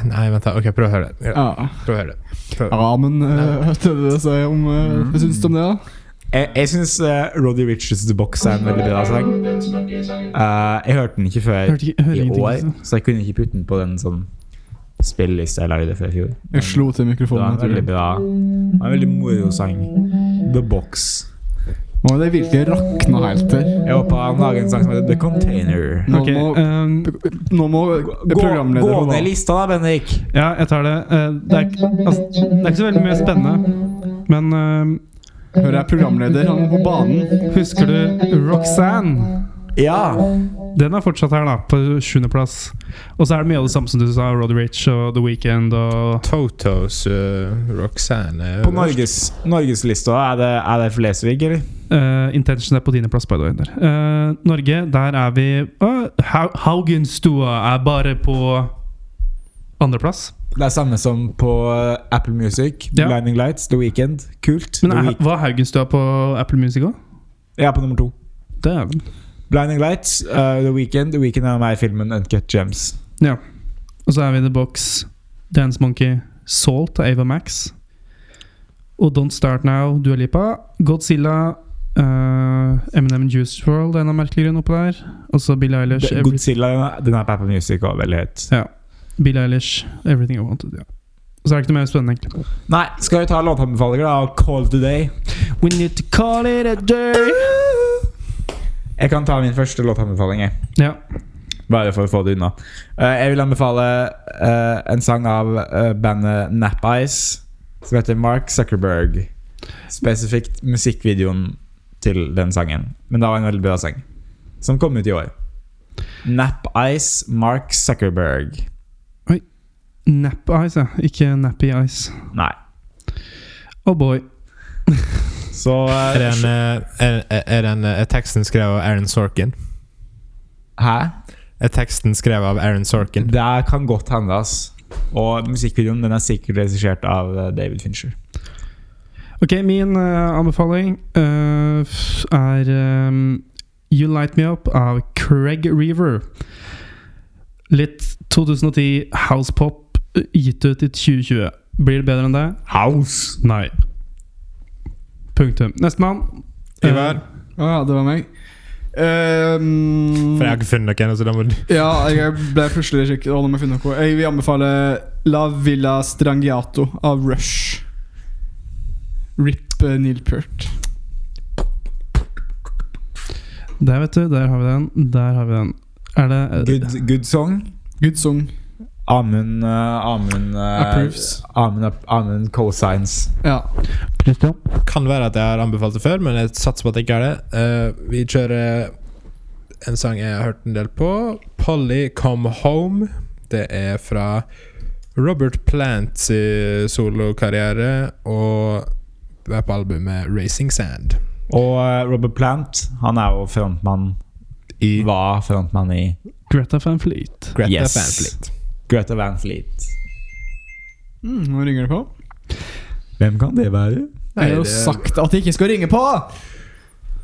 A: Nei, vent, da. Ok, prøv å høre det. Ja,
D: Ja,
A: Prøv å høre det.
D: ja men eh, hørte du det jeg sa om eh,
C: Mm.
D: Hva syns du om det, da?
C: Jeg, jeg syns Roddy Richards The Box er en veldig bra sang. Eh, jeg hørte den ikke før
B: Hørte ikke, hører
C: i
B: ingenting.
C: år,
B: altså.
C: så jeg kunne ikke putte den på den sånn spillelista jeg lagde for i fjor. Men
D: Jeg slo til
C: det var
D: mikrofonen.
C: en
D: jeg tror
C: veldig
D: det.
C: bra det var En veldig moro sang. The Box.
F: Nå har det virkelig rakna helt her.
C: Jeg håper han lager en sang som heter The Container.
F: Nå
B: Ok,
F: må,
B: ehm,
F: nå må
C: Gå,
F: programleder
C: gå ned lista, da, Bendik.
B: Ja, jeg tar det. Eh, Det er, ikke- altså, det er ikke så veldig mye spennende. Men eh,
F: Hører jeg programleder, han er på banen.
B: husker du Roxanne?
C: Ja.
B: Den er fortsatt her, da. På sjuendeplass. Og så er det mye av det samme som du sa. Roddy Rich og The Weekend og
A: Totos uh, Roxanne er
C: På
A: øverst.
C: Norges, Norgeslista, er det, er det Flesvig, eller?
B: eh, Intention er på tiendeplass, by the way. Der. Eh, Norge, der er vi uh, Haugenstua er bare på andreplass.
C: Det er samme som på eh, Apple Music.
B: Ja.
C: Blinding Lights, The Weekend. Kult.
B: Men
C: The
B: er,
C: Week-
B: var Haugenstua på Apple Music òg?
C: Jeg er på nummer to.
B: Dæven.
C: Blinding Lights, eh, The Weekend. The Weekend er med i filmen Uncut Gems.
B: Og så er vi The Box, Dance Monkey, Salt av Ava Max. Og Don't Start Now, Dua Lipa. Godzilla, uh, Eminem Juice World, en av merkelige grunn oppå der. Og så Billie Eilish.
C: The-
B: Every,
C: Godzilla den er på Apple Music og veldig høyt.
B: Billie Eilish, Everything I Wanted. Ja. Og så er det ikke noe mer spennende, egentlig.
C: Nei, skal vi ta låtanbefalinger, da? og Call it a day.
B: We need to call it a day.
C: Jeg kan ta min første låtanbefaling. jeg.
B: Ja.
C: Bare for å få det unna. Eh, jeg vil anbefale eh, en sang av eh, bandet Nap Eyes som heter Mark Zuckerberg. Spesifikt musikkvideoen til den sangen. Men det var en veldig bra sang. Som kom ut i år. Nap Eyes, Mark Zuckerberg.
B: Nap Eyes, ja. Ikke Nappy Eyes.
C: Nei.
B: Oh boy.
C: Så
A: Er
C: eh,
A: den, eh, er, er- er den eh, er teksten skrevet av Aaron Sorkin?
C: Hæ?
A: Er teksten skrevet av Aaron Sorkin?
C: Det kan godt hende, ass. Og musikkvideoen den er sikkert regissert av eh, David Fincher.
B: Ok, min eh, anbefaling eh, f- er ehm, You Light Me Up av Craig Reaver. Litt 2010 housepop eh, gitt ut i 2020. Blir det bedre enn det?
C: House!
B: Nei. Punktum. Nestemann.
A: Ivar?
B: Eh,
F: Å ja, det var meg. Ehm,
A: For jeg har ikke funnet noen, så da må du
F: ja, jeg ble plutselig sjekk. Å, nå må jeg finne noe. Jeg vil anbefale La Villa Strangiato av Rush. Rip eh, Neil Peart.
B: der, vet du. Der har vi den. Der har vi den. Er det eh,
C: Good, good song.
F: Good song.
C: Amund uh, Amund uh,
F: Approves.
C: Amund, app- Amund cosigns.
F: Ja.
A: Kan være at jeg har anbefalt det før, men jeg satser på at det ikke er det. Eh, vi kjører en sang jeg har hørt en del på. 'Polly Come Home'. Det er fra Robert Plants eh, solokarriere og det er på albumet 'Racing Sand'.
C: Og uh, Robert Plant, han er jo frontmann
A: I
C: Var frontmann i
B: Greta Van Fleet?
A: Greta
C: Yes.
A: Van Fleet.
C: Greta Van Fleet.
F: Mm, nå ringer det på.
C: Hvem kan det være?
A: Nei,
F: jeg har jo
A: det-
F: sagt at jeg ikke skal ringe på!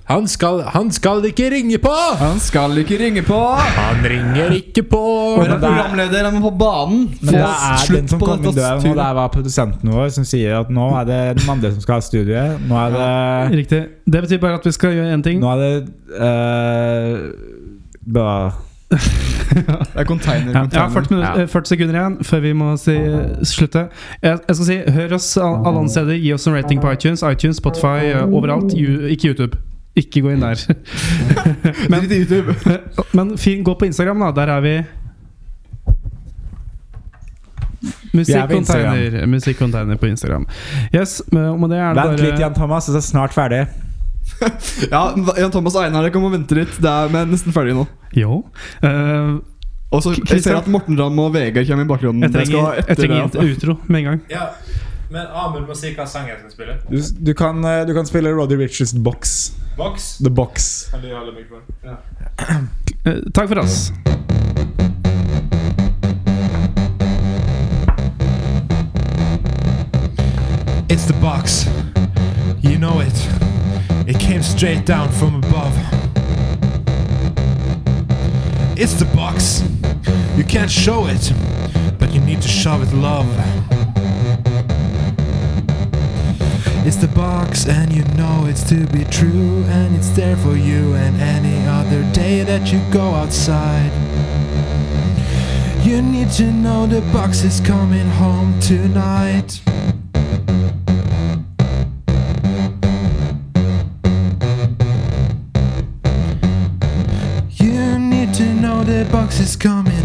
A: Han skal, han skal ikke ringe på!
F: Han skal ikke ringe på!
A: Han ringer ikke på!
F: Men programleder, han må på banen!
C: Men
F: Få
C: det er den
F: slutt
C: som
F: på
C: kom
F: dette
C: inn døren, og
F: styret.
C: det var produsenten vår som sier at nå er det den andre som skal ha studiet. Nå er det
B: Riktig. Det betyr bare at vi skal gjøre én ting.
C: Nå er det eh, bra.
F: Det er container,
B: Ja, jeg har
F: container.
B: 40, minutter,
C: Ja.
B: eh, 40 sekunder igjen før vi må si, eh, slutte. Jeg, jeg skal si Hør oss all- alle andre steder. Gi oss en rating på iTunes, iTunes, Spotify, eh, overalt. Ju, ikke YouTube. Ikke gå inn der. (laughs)
F: Drit i YouTube.
B: Men fin, gå på Instagram, da. Der er vi. Musikkonteiner Musikkonteiner på Instagram. Yes, men- og med det er det
C: Vent litt,
B: bare
C: Jan Thomas. Det er snart ferdig.
F: (laughs) Ja, Jan Thomas og Einar, dere kan må vente litt. Det er, vi er nesten ferdig nå.
B: Jo. Eh,
F: Og så Jeg ser at Morten Ramm og Vegard kommer i bakgrunnen.
B: jeg
F: Det skal
B: trenger, jeg
F: etter
B: trenger
F: det,
B: et utro med en gang.
A: Ja, men Amund må si hva sang jeg skal spille.
C: Du, du, kan, eh, du kan spille Roddy Richards Box.
A: Box?
C: The Box.
A: Kan du holde mikrofonen?
B: Eh, takk for oss.
E: It's the box. You know it. It came straight down from above. It's the box. You can't show it, but you need to shove it, love. It's the box, and you know it's to be true, and it's there for you, and any other day that you go outside. You need to know the box is coming home tonight. box is coming.